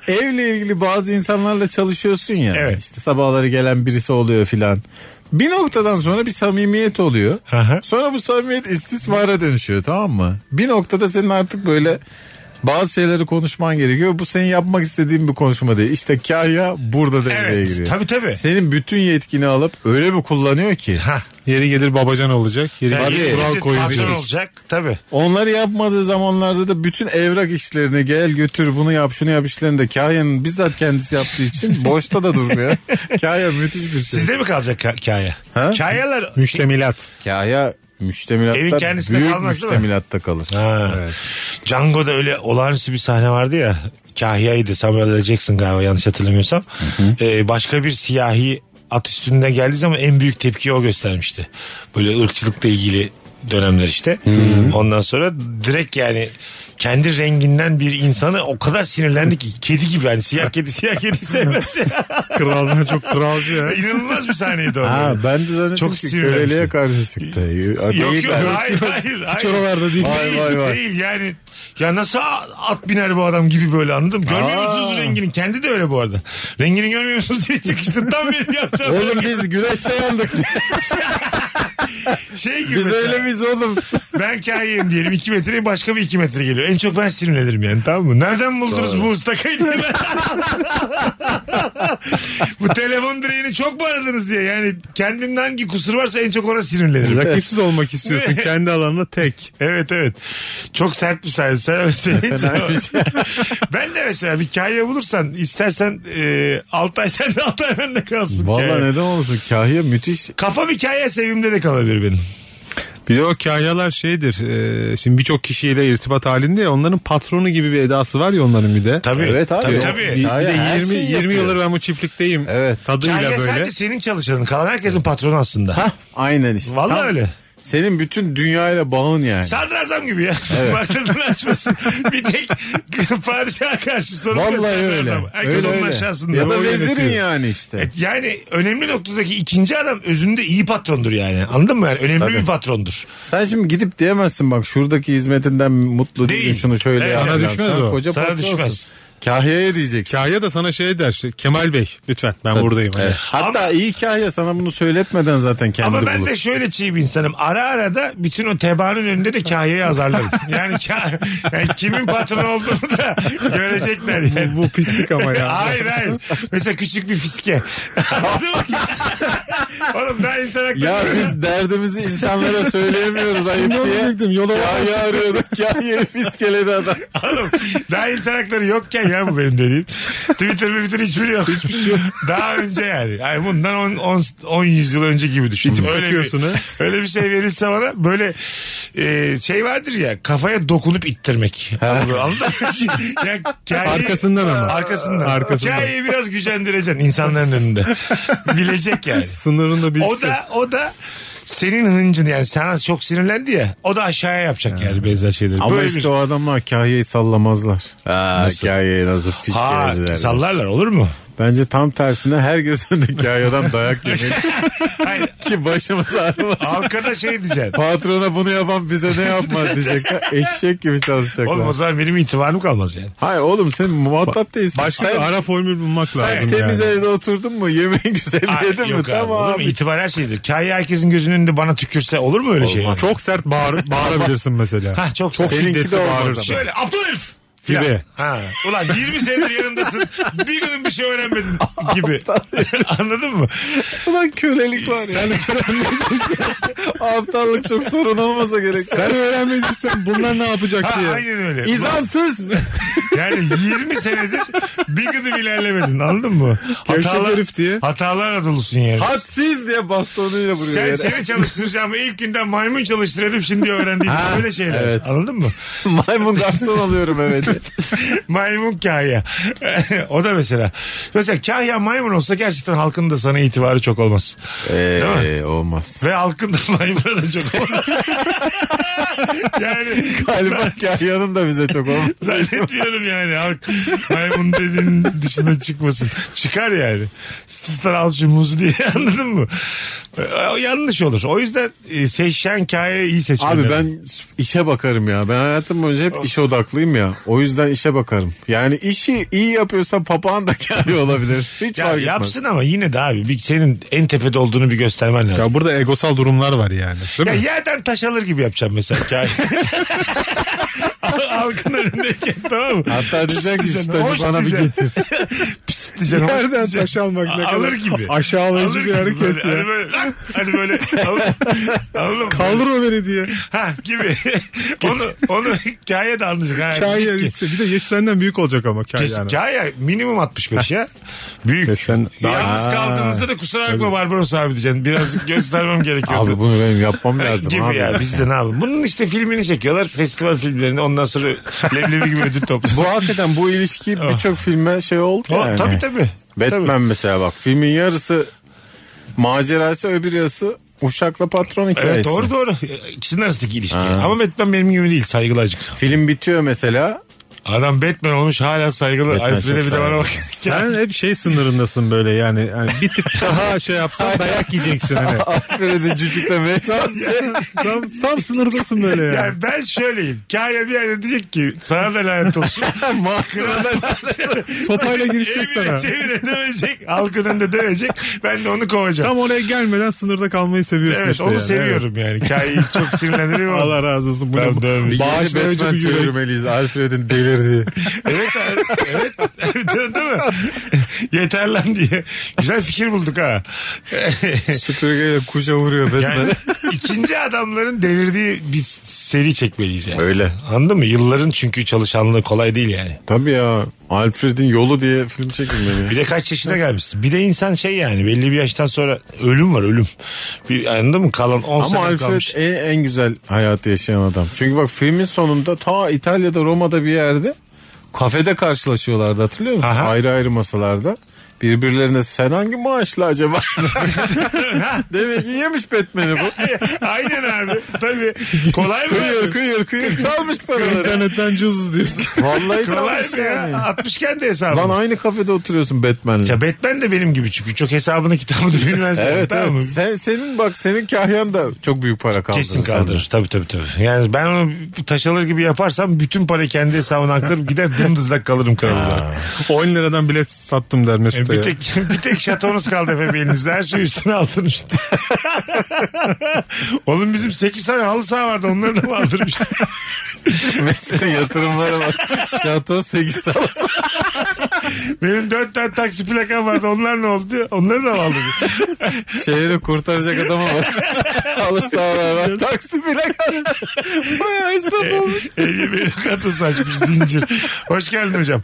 S2: [LAUGHS]
S3: evle ilgili bazı insanlarla çalışıyorsun ya.
S2: Evet.
S3: İşte sabahları gelen birisi oluyor filan. Bir noktadan sonra bir samimiyet oluyor.
S2: Aha.
S3: Sonra bu samimiyet istismara dönüşüyor tamam mı? Bir noktada senin artık böyle bazı şeyleri konuşman gerekiyor. Bu senin yapmak istediğin bir konuşma değil. İşte kahya burada devreye
S2: Evet,
S3: giriyor.
S2: tabii, tabii.
S3: Senin bütün yetkini alıp öyle bir kullanıyor ki.
S2: Ha.
S4: Yeri gelir babacan olacak. Yeri
S2: Yani
S4: gelir
S2: yeni
S4: kural
S2: bir Patron
S4: koyuyoruz.
S2: olacak tabii.
S3: Onları yapmadığı zamanlarda da bütün evrak işlerini gel götür bunu yap şunu yap işlerini de Kahya'nın bizzat kendisi
S2: [LAUGHS]
S3: yaptığı için boşta da durmuyor. Kahya müthiş bir şey.
S2: Sizde mi kalacak ka- kahya?
S3: Ha?
S2: Kahyalar...
S4: Müştemilat.
S3: Kahya
S2: Evin
S3: müştemilatta
S2: kendisinde
S3: büyük
S2: kalmaz değil mi?
S3: müştemilatta kalır.
S2: Ha. Django'da öyle olağanüstü bir sahne vardı ya. Kahya'ydı Samuel L. Jackson galiba yanlış hatırlamıyorsam. Ee, başka bir siyahi at üstünde geldiği zaman en büyük tepkiyi o göstermişti. Böyle ırkçılıkla ilgili dönemler işte. Ondan sonra direkt yani kendi renginden bir insanı o kadar sinirlendi ki kedi gibi yani siyah kedi siyah kedi sevmez.
S3: [LAUGHS]
S4: Kralına çok kralcı
S2: [LAUGHS]
S4: ya.
S2: İnanılmaz bir sahneydi o.
S3: Ha,
S2: böyle.
S3: ben de zannettim
S2: Çok
S3: ki
S2: sinirlenmişim.
S3: köleliğe karşı çıktı.
S2: Yok yok hayır hayır. hayır.
S3: oralarda değil. Vay,
S2: değil,
S3: vay, vay.
S2: değil yani. Ya nasıl at biner bu adam gibi böyle anladım. Görmüyor
S3: Aa.
S2: musunuz rengini? Kendi de öyle bu arada. Rengini görmüyor musunuz diye çıkıştı. Tam benim yapacağım.
S3: Oğlum biz güneşte yandık.
S2: [LAUGHS] şey gibi.
S3: biz
S2: mesela.
S3: öyle miyiz oğlum?
S2: Ben kahyayım diyelim. 2 metre başka bir 2 metre geliyor. En çok ben sinirlenirim yani tamam mı? Nereden buldunuz bu ıstakayı diye ben- [LAUGHS] bu telefon direğini çok mu aradınız diye. Yani kendimde hangi kusur varsa en çok ona sinirlenirim.
S4: Rakipsiz
S2: [LAUGHS]
S4: olmak istiyorsun kendi alanında tek.
S2: Evet evet. Çok sert bir sayı. Sen öyle söyleyince-
S3: şey.
S2: [LAUGHS] ben de mesela bir kahya bulursan istersen e, 6 ay [LAUGHS] sen de 6 ay bende kalsın.
S3: Valla
S2: kahya.
S3: neden olmasın? Kahya müthiş.
S2: Kafam hikaye sevimde de kalabilir benim.
S4: Bir de o kahyalar şeydir. e, şimdi birçok kişiyle irtibat halinde ya onların patronu gibi bir edası var ya onların bir de. E,
S2: Tabii.
S3: Evet abi.
S2: Tabii
S3: O-
S2: tabii.
S4: Bir, bir
S3: Kahya
S4: de
S3: her
S4: 20,
S3: şeyi
S4: 20
S3: yapıyor.
S4: yıldır ben bu çiftlikteyim.
S3: Evet.
S4: Tadıyla
S2: Kahya
S4: böyle.
S2: sadece senin çalışanın. Kalan herkesin patronu aslında.
S3: Hah, aynen işte.
S2: Vallahi
S3: Tam
S2: öyle.
S3: Senin bütün dünyayla bağın yani.
S2: Sadrazam gibi ya. [LAUGHS] Maksadını açmasın. bir tek [LAUGHS] padişaha karşı sorumlu
S3: Vallahi
S2: sadrazam.
S3: öyle.
S2: Herkes
S3: öyle,
S2: onun
S3: öyle.
S2: aşağısında. E-
S3: Ya da
S2: O
S3: vezirin
S2: yönetiyor.
S3: yani işte.
S2: Evet, Yani önemli noktadaki ikinci adam özünde iyi patrondur yani. Anladın mı? Yani önemli
S3: Tabii.
S2: bir patrondur.
S3: Sen şimdi gidip diyemezsin bak şuradaki hizmetinden mutlu
S2: Değil.
S3: değilim şunu şöyle
S2: Evet.
S3: yap.
S4: Sana
S3: Yani
S4: düşmez
S3: sen
S4: o.
S3: Koca
S2: Sana
S3: patronsun.
S2: düşmez.
S3: Kahya'ya diyeceksin.
S4: Kahya da sana şey der işte, Kemal Bey lütfen ben buradayım. Hani.
S3: Evet. Hatta iyi kahya sana bunu söyletmeden zaten kendi
S2: Ama ben
S3: bulur.
S2: de şöyle çiğ bir insanım. Ara ara da bütün o tebaanın önünde de kahyayı azarlarım. yani, ka- yani kimin patronu olduğunu da görecekler yani.
S4: [LAUGHS] Bu pislik ama ya.
S2: hayır hayır. Mesela küçük bir fiske. Anladın mı? [LAUGHS] Oğlum daha insan hakları.
S3: Ya biz derdimizi insanlara söyleyemiyoruz ayıp
S4: Şimdi onu
S3: diye.
S4: diyecektim, yola
S3: Kahya arıyorduk. Kahya'yı fiskeledi adam.
S2: Oğlum daha insan hakları yokken ya bu benim dediğim. Twitter Twitter hiçbiri yok. Hiçbir şey yok. Daha önce yani. Ay bundan 10 yüzyıl önce gibi düşün.
S4: İtip
S2: bir,
S4: takıyorsun ha.
S2: öyle bir şey verilse bana böyle e, şey vardır ya kafaya dokunup ittirmek.
S4: [LAUGHS]
S2: Anladın mı? Ya hikayeyi-
S4: [LAUGHS] Arkasından ama.
S2: Arkasından.
S4: Arkasından.
S2: Hikayeyi biraz gücendireceksin insanların önünde. Bilecek yani.
S4: Sınırını da bilsin.
S2: O da o da senin hıncın yani sana çok sinirlendi ya o da aşağıya yapacak yani benzer şeyleri.
S3: Ama
S2: Böyle bir-
S3: işte o adamlar kahyayı sallamazlar. Ha, kahyayı nasıl
S2: Ha,
S3: fiskelediler.
S2: sallarlar olur mu?
S3: Bence tam tersine herkesin de kahyadan dayak yemeli
S2: Hayır.
S3: [LAUGHS] ki başımız [LAUGHS] ağrımasın.
S2: Halkada şey diyeceksin.
S3: Patrona bunu yapan bize ne yapmaz diyecekler. Eşek gibi çalışacaklar.
S2: Oğlum o zaman benim itibarım kalmaz yani.
S3: Hayır oğlum sen muhatap değilsin.
S4: Başka
S3: sen,
S4: bir ara formül bulmak
S3: sen
S4: lazım
S3: temiz
S4: yani.
S3: evde oturdun mu yemeğin güzel
S2: Ay,
S3: yedin mi?
S2: yok abi,
S3: Tamam
S2: olur mu?
S3: abi.
S2: İtibar her şeydir. Kaya herkesin gözünün önünde bana tükürse olur mu öyle şey?
S4: Çok sert bağır, bağırabilirsin mesela.
S2: Ha, çok sert.
S4: şiddetli
S3: Seninki de olmaz
S4: bağırırsın.
S3: ama.
S2: Şöyle aptal herif filan.
S4: Gibi.
S2: Ha. Ulan 20 senedir yanındasın. bir gün bir şey öğrenmedin gibi. [LAUGHS] Anladın mı?
S3: Ulan kölelik var ya.
S2: [LAUGHS]
S3: Aptallık çok sorun olmasa gerek.
S4: Sen öğrenmediysen bunlar ne yapacak
S2: Ha,
S4: diye.
S2: aynen öyle.
S3: İzansız.
S2: Yani 20 senedir bir gıdım ilerlemedin anladın mı?
S4: Gevşek herif diye.
S2: Hatalarla dolusun yani.
S3: Hadsiz diye bastonuyla vuruyor
S2: Sen
S3: yere.
S2: seni çalıştıracağım ilk günden maymun çalıştırdım şimdi öğrendiğim böyle şeyler.
S3: evet.
S2: Anladın mı?
S3: [LAUGHS] Maymun garson alıyorum evet.
S2: [LAUGHS] Maymun kahya. [LAUGHS] o da mesela. Mesela kahya maymun olsa gerçekten halkın da sana itibarı çok olmaz.
S3: Eee Ee, olmaz.
S2: Ve halkın da [LAUGHS] maymuna da çok olmaz. [LAUGHS] yani
S3: Galiba Kahya'nın da bize çok olmaz.
S2: zannetmiyorum yani halk maymun dediğin dışına çıkmasın. Çıkar yani. Sistar al şu muzu diye [LAUGHS] anladın mı? O yanlış olur. O yüzden e, seçen kahya iyi seçmen
S3: Abi
S2: lazım.
S3: ben işe bakarım ya. Ben hayatım boyunca hep işe odaklıyım ya. O yüzden işe bakarım. Yani işi iyi yapıyorsa papağan da [LAUGHS] Kahya olabilir. Hiç
S2: Ya
S3: fark etmez.
S2: yapsın ama yine de abi bir, senin en tepede olduğunu bir göstermen lazım.
S4: Ya burada egosal durumlar var yani. Değil
S2: Ya
S4: mi?
S2: yerden taş alır gibi yapacağım mesela
S3: [LAUGHS]
S2: hikaye. Al- Halkın önündeyken tamam mı?
S3: Hatta diyecek ki şu taşı
S2: Hoş
S3: bana bir
S2: diyeceksin. [LAUGHS]
S3: getir.
S2: Pıs diyeceksin. hoş
S4: Yerden
S2: diyeceksin.
S4: taş almak ne kadar
S2: Alır gibi.
S4: aşağılayıcı
S2: Alır
S4: bir hareket
S2: böyle,
S4: ya.
S2: Hani böyle, lan, hani böyle alır, alır mı?
S4: Kaldır o beni diye.
S2: Ha gibi. onu, onu hikaye de anlayacak. Ha,
S4: Kaya
S2: diyecek ki,
S4: işte bir de yaş senden büyük olacak ama kaya
S2: Kes,
S4: yani.
S2: Kaya minimum 65 ya. Büyük.
S4: Sen-
S2: Yalnız
S3: Aa,
S2: kaldığınızda da kusura bakma Barbaros abi diyeceksin. Birazcık göstermem gerekiyor.
S3: Abi bunu
S2: [LAUGHS]
S3: benim yapmam lazım
S2: gibi
S3: abi.
S2: ya biz de ne yapalım. Bunun işte filmini çekiyorlar festival filmlerini ondan sonra leblebi gibi ödül topluyor.
S3: Bu hakikaten bu ilişki birçok filme şey oldu
S2: O,
S3: yani.
S2: Oh. Tabii tabii.
S3: Batman
S2: Tabii.
S3: mesela bak filmin yarısı macerası öbür yarısı uşakla patron hikayesi.
S2: Evet doğru doğru. İkisinin arasındaki ilişki. Ama Batman benim gibi değil saygılı acık.
S3: Film bitiyor mesela.
S2: Adam Batman olmuş hala saygılı.
S3: Batman
S2: Alfred'e
S3: çok
S2: bir de bana
S3: saygılı.
S2: bak. [LAUGHS]
S4: Sen hep şey sınırındasın böyle yani. yani bir tık daha şey yapsan dayak
S2: [LAUGHS]
S4: yiyeceksin hani. şey,
S3: Alfred'i cücüklemeye çalışıyor.
S4: Tam, tam sınırdasın böyle yani.
S2: Yani ben şöyleyim. Kaya bir yerde diyecek ki sana da lanet olsun.
S4: Sopayla girişecek
S2: Çevire
S4: sana.
S2: çevire dövecek. Halkın önünde dövecek. Ben de onu kovacağım.
S4: [LAUGHS] Tam oraya gelmeden sınırda kalmayı seviyorsun
S2: evet
S4: işte.
S2: onu
S4: yani.
S2: seviyorum yani. Kaya'yı çok sinirlendiriyor. ama-
S4: Evet. [LAUGHS] Allah razı olsun. Bu ne-
S2: Tamam, dövmüş.
S3: Bir yeni
S4: Bağışlayıcı
S3: Batman
S4: bir yürek.
S3: çevirmeliyiz
S2: [LAUGHS]
S3: Alfred'in delirdiği.
S2: Evet abi, evet. Evet, [LAUGHS] Değil mi? Yeter lan diye. Güzel fikir bulduk ha.
S3: Süpürgeyle kuşa vuruyor Batman.
S2: Yani ikinci adamların delirdiği bir seri çekmeliyiz yani.
S3: Öyle.
S2: Anladın mı? Yılların çünkü çalışanlığı kolay değil yani.
S3: Tabii ya Alfred'in yolu diye film
S2: [LAUGHS]
S3: çekilmeli.
S2: Bir de kaç yaşına gelmişsin. Bir de insan şey yani belli bir yaştan sonra ölüm var ölüm. Bir, anladın mı? Kalan 10
S3: Ama
S2: sene
S3: Alfred e,
S2: kalmış. [LAUGHS]
S3: en, en güzel hayatı yaşayan adam. Çünkü bak filmin sonunda ta İtalya'da Roma'da bir yerde kafede karşılaşıyorlardı hatırlıyor musun?
S2: Aha.
S3: Ayrı ayrı masalarda. Birbirlerine sen hangi maaşla acaba? [LAUGHS] Demek ki yemiş Batman'i bu.
S2: Aynen abi. Tabii. Kolay mı?
S3: Kıyır kıyır kıyır çalmış paraları.
S4: İnternetten cızız diyorsun.
S3: Vallahi
S2: Kolay
S3: çalmış
S2: mı
S3: şey yani.
S2: ya? 60 kendi hesabı.
S3: Lan aynı kafede oturuyorsun Batman'le.
S2: Ya Batman de benim gibi çünkü çok hesabını kitabını bilmez.
S3: Evet
S2: Tamam
S3: evet.
S2: mı?
S3: Sen, senin bak senin kahyan da çok büyük para kaldırır.
S2: Kesin
S3: senden.
S2: kaldırır. Tabii tabii tabii. Yani ben onu taş alır gibi yaparsam bütün parayı kendi hesabına aktarım gider dımdızlak kalırım kralımda.
S4: 10 liradan bilet sattım der Mesut'a
S2: E, bir
S4: ya.
S2: tek [LAUGHS] bir tek şatonuz kaldı efendim elinizde. Her şeyi üstüne aldın işte. [LAUGHS] Oğlum bizim 8 tane halı saha vardı onları da mı aldın
S3: [LAUGHS]
S2: işte?
S3: Mesleğin yatırımlara bak. Şato 8 salası.
S2: Benim 4 tane taksi plakam vardı onlar ne oldu? Onları da mı aldın?
S3: [LAUGHS] Şehri kurtaracak
S2: [LAUGHS]
S3: adama bak. Halı sağlar var. Taksi bile kaldı. Bayağı esnaf olmuş.
S2: Eli beni E, katı saçmış zincir. Hoş geldin hocam.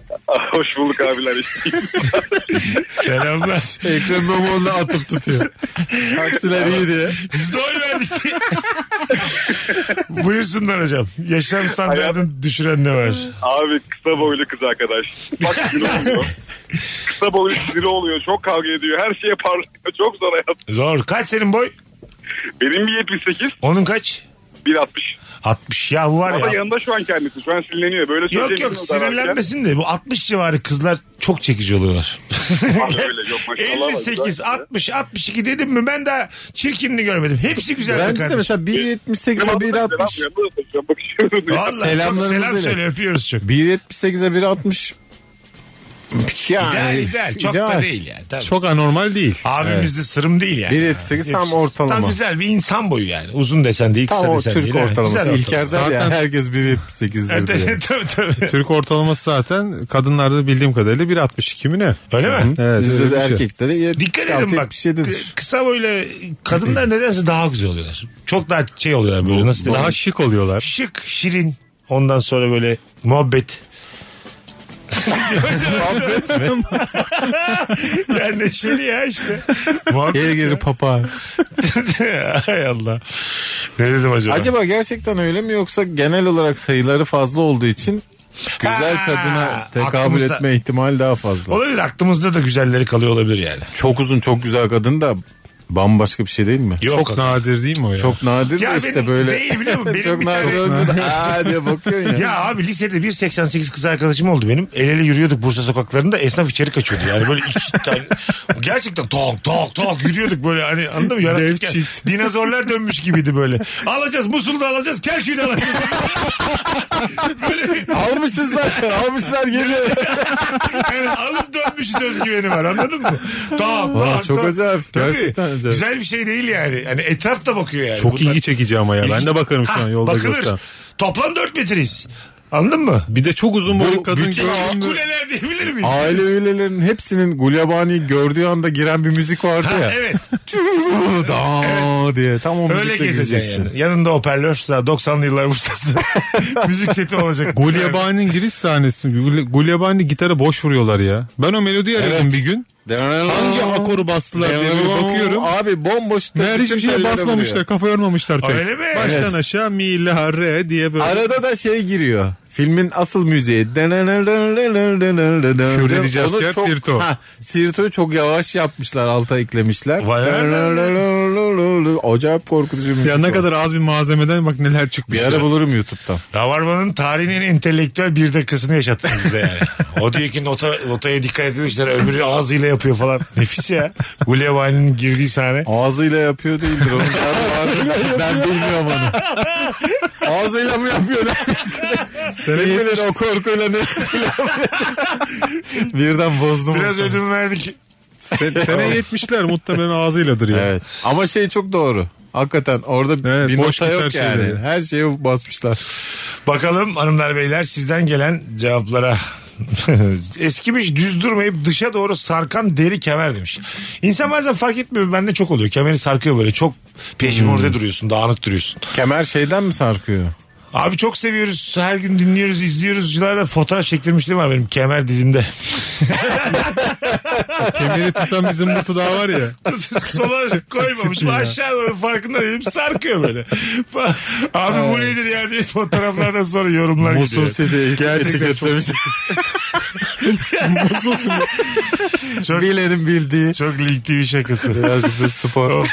S6: Hoş bulduk abiler.
S2: Selamlar.
S3: [LAUGHS] Ekrem İmamoğlu'na atıp tutuyor. Taksiler iyi diye.
S2: Biz de oy verdik. Buyursunlar hocam. Yaşam standartını düşüren ne var?
S6: Abi kısa boylu kız arkadaş. Bak
S2: [LAUGHS]
S6: sinir oluyor. Kısa boylu sinir oluyor. Çok kavga ediyor. Her şeye parlıyor. Çok zor hayat.
S2: Zor. Kaç senin boy?
S6: Benim bir 78,
S2: Onun kaç?
S6: 1.60.
S2: 60 ya bu var
S6: Ama
S2: ya.
S6: yanında şu an kendisi. Şu an sinirleniyor. Böyle
S2: Yok
S6: söyleyemiyorum
S2: yok
S6: da
S2: sinirlenmesin de bu 60 civarı kızlar çok çekici oluyorlar.
S6: Abi öyle, yok maşallah
S2: [LAUGHS]
S6: var,
S2: 58,
S6: güzel.
S2: 60, 62 dedim mi ben daha çirkinini görmedim. Hepsi güzel be
S3: Bence de
S2: kardeşim.
S3: mesela 1.78'e
S6: arkadan. Yanında da
S3: 1.60.
S6: selam, yanında da selam. Bakışıyoruz.
S2: Vallahi çok
S3: Selamlarımızı
S2: selam
S3: ile.
S2: söyle öpüyoruz çok.
S3: 1.78'e 1.60. Yani,
S2: İdeal
S3: [LAUGHS]
S2: ideal. Çok da
S3: ideal.
S2: değil yani. Tabii.
S4: Çok anormal değil.
S2: Abimiz de sırım değil yani.
S3: 1.78 tam
S2: Yakışır.
S3: ortalama.
S2: Tam güzel bir insan boyu yani. Uzun desen değil, kısa
S3: Tam o
S2: desen
S3: Türk
S2: değil. ha.
S3: ortalaması.
S2: Güzel
S3: İlker der ya
S4: Zaten-
S3: herkes 1.78'dir
S2: Evet,
S3: diye.
S2: evet, [LAUGHS] tabii, tabii.
S4: Türk ortalaması zaten kadınlarda bildiğim kadarıyla 1.62 mi ne?
S2: Öyle mi?
S4: Evet,
S3: Bizde
S4: öyle
S3: de
S4: bir şey.
S3: erkekleri
S2: Dikkat edin bak.
S3: 76-77'dir.
S2: kı- Kısa böyle kadınlar nedense daha güzel oluyorlar. Çok daha şey oluyorlar böyle nasıl desem.
S4: Daha şık oluyorlar.
S2: şık, şirin. Ondan sonra böyle muhabbet. muhabbet mi? [LAUGHS] yani neşeli ya işte. Muhabbet.
S3: Geri geri papa.
S2: [LAUGHS] Hay Allah. Ne dedim acaba?
S3: Acaba gerçekten öyle mi yoksa genel olarak sayıları fazla olduğu için güzel
S2: Ha,
S3: kadına tekabül
S2: aklımızda-
S3: etme ihtimali daha fazla.
S2: Olabilir aklımızda da güzelleri kalıyor olabilir yani.
S3: Çok uzun çok güzel kadın da bambaşka bir şey değil mi?
S2: Yok.
S4: Çok nadir değil mi o ya?
S3: Çok nadir
S2: Ya
S3: de
S2: benim
S3: işte böyle.
S2: değil biliyor
S3: [LAUGHS]
S2: musun? Benim
S3: çok
S2: bir
S3: nadir
S2: tane-
S3: oldu da aa [LAUGHS] diye bakıyorsun ya.
S2: Ya abi lisede 1.88 kız arkadaşım oldu benim. El ele yürüyorduk Bursa sokaklarında esnaf içeri kaçıyordu. Yani böyle
S4: [LAUGHS]
S2: iki tane gerçekten tok tok tok yürüyorduk böyle hani anladın mı? Yaratık
S4: Dev
S2: ya-
S4: çift. [LAUGHS]
S2: dinozorlar dönmüş gibiydi böyle. Alacağız Musul'da alacağız Kerkük'ü de alacağız. böyle
S3: Almışız zaten almışlar geliyor.
S2: yani alıp dönmüşüz özgüveni var anladın mı? Tok
S3: Aa,
S2: tok
S3: çok
S2: tok.
S3: acayip,
S2: Tabii.
S3: gerçekten acayip.
S2: Güzel bir şey değil yani. Hani etraf da bakıyor yani.
S4: Çok
S2: Bunlar-
S4: ilgi çekici ama ya. Ben de bakarım şu
S2: Ha,
S4: an yolda
S2: bakılır.
S4: görsem.
S2: Toplam 4 metreyiz. Anladın mı?
S4: Bir de çok uzun boylu kadın
S3: bütün
S4: gördüm.
S2: İkiz kuleler diyebilir miyiz?
S3: Aile üyelerinin hepsinin Gulyabani'yi gördüğü anda giren bir müzik vardı
S2: Ha,
S3: ya.
S2: evet.
S3: Da diye tam o
S2: Öyle
S3: müzikle
S2: gezeceksin.
S3: gireceksin.
S2: Yani. Yanında hoparlör, sağ 90'lı yıllar ustası. Müzik seti olacak.
S4: Gulyabani'nin giriş sahnesi. Gul- Gulyabani gitara boş vuruyorlar ya. Ben o melodiyi aradım bir gün. Hangi akoru bastılar diye böyle bakıyorum.
S3: Abi bomboş.
S4: Meğer hiçbir şeye
S3: tellere
S4: basmamışlar.
S3: vuruyor.
S4: Kafa yormamışlar pek.
S2: Öyle mi?
S4: Baştan
S3: Evet.
S4: aşağı mi la re diye böyle.
S3: Arada da şey giriyor. Filmin asıl müziği. Fury
S4: Fury Jasker, Sirto.
S3: Sirto'yu çok yavaş yapmışlar. Alta eklemişler.
S2: Vay, vay, vay,
S3: Acayip korkutucu müzik.
S4: Ya ne
S3: o.
S4: kadar az bir malzemeden bak neler çıkmış.
S3: Bir ara bulurum YouTube'dan.
S2: Ravarman'ın tarihin en entelektüel bir dakikasını yaşattı bize yani. O diyor ki nota, notaya dikkat etmişler. Öbürü ağzıyla yapıyor falan. Nefis ya. Gulyabani'nin girdiği sahne.
S3: Ağzıyla yapıyor değildir [LAUGHS] onun. ben bilmiyorum onu. Ağzıyla mı yapıyor? Senin o korkuyla ne? [LAUGHS] Birden bozdum.
S2: Biraz ödün verdik.
S4: Sen- Sene 70'ler muhtemelen ağzıyladır ya.
S3: Evet. Ama şey çok doğru. Hakikaten orada
S4: Evet,
S3: bir
S4: boş
S3: nota yok
S4: gitar
S3: yani.
S4: şeyleri.
S3: Her şey şeye basmışlar.
S2: Bakalım hanımlar beyler sizden gelen cevaplara. [LAUGHS] Eskimiş düz durmayıp dışa doğru sarkan deri kemer demiş. İnsan bazen fark etmiyor. Bende çok oluyor. Kemeri sarkıyor böyle. Çok peşimurde duruyorsun. Dağınık duruyorsun.
S3: Kemer şeyden mi sarkıyor?
S2: Abi çok seviyoruz. Her gün dinliyoruz, izliyoruz. Cılarla fotoğraf çektirmiştim var benim kemer dizimde. [LAUGHS]
S4: Kemeri tutan bizim mutlu daha var ya.
S2: Sola koymamışım. Aşağı doğru farkında değilim. Sarkıyor böyle. [LAUGHS] Abi bu nedir ya diye fotoğraflardan sonra yorumlar
S3: Musul
S2: gidiyor.
S3: [LAUGHS] City etiketlemiş.
S2: Çok,
S3: Bilenin bildiği.
S2: çok link TV şakası.
S3: Biraz da
S2: [LAUGHS]
S3: spor.
S2: Of.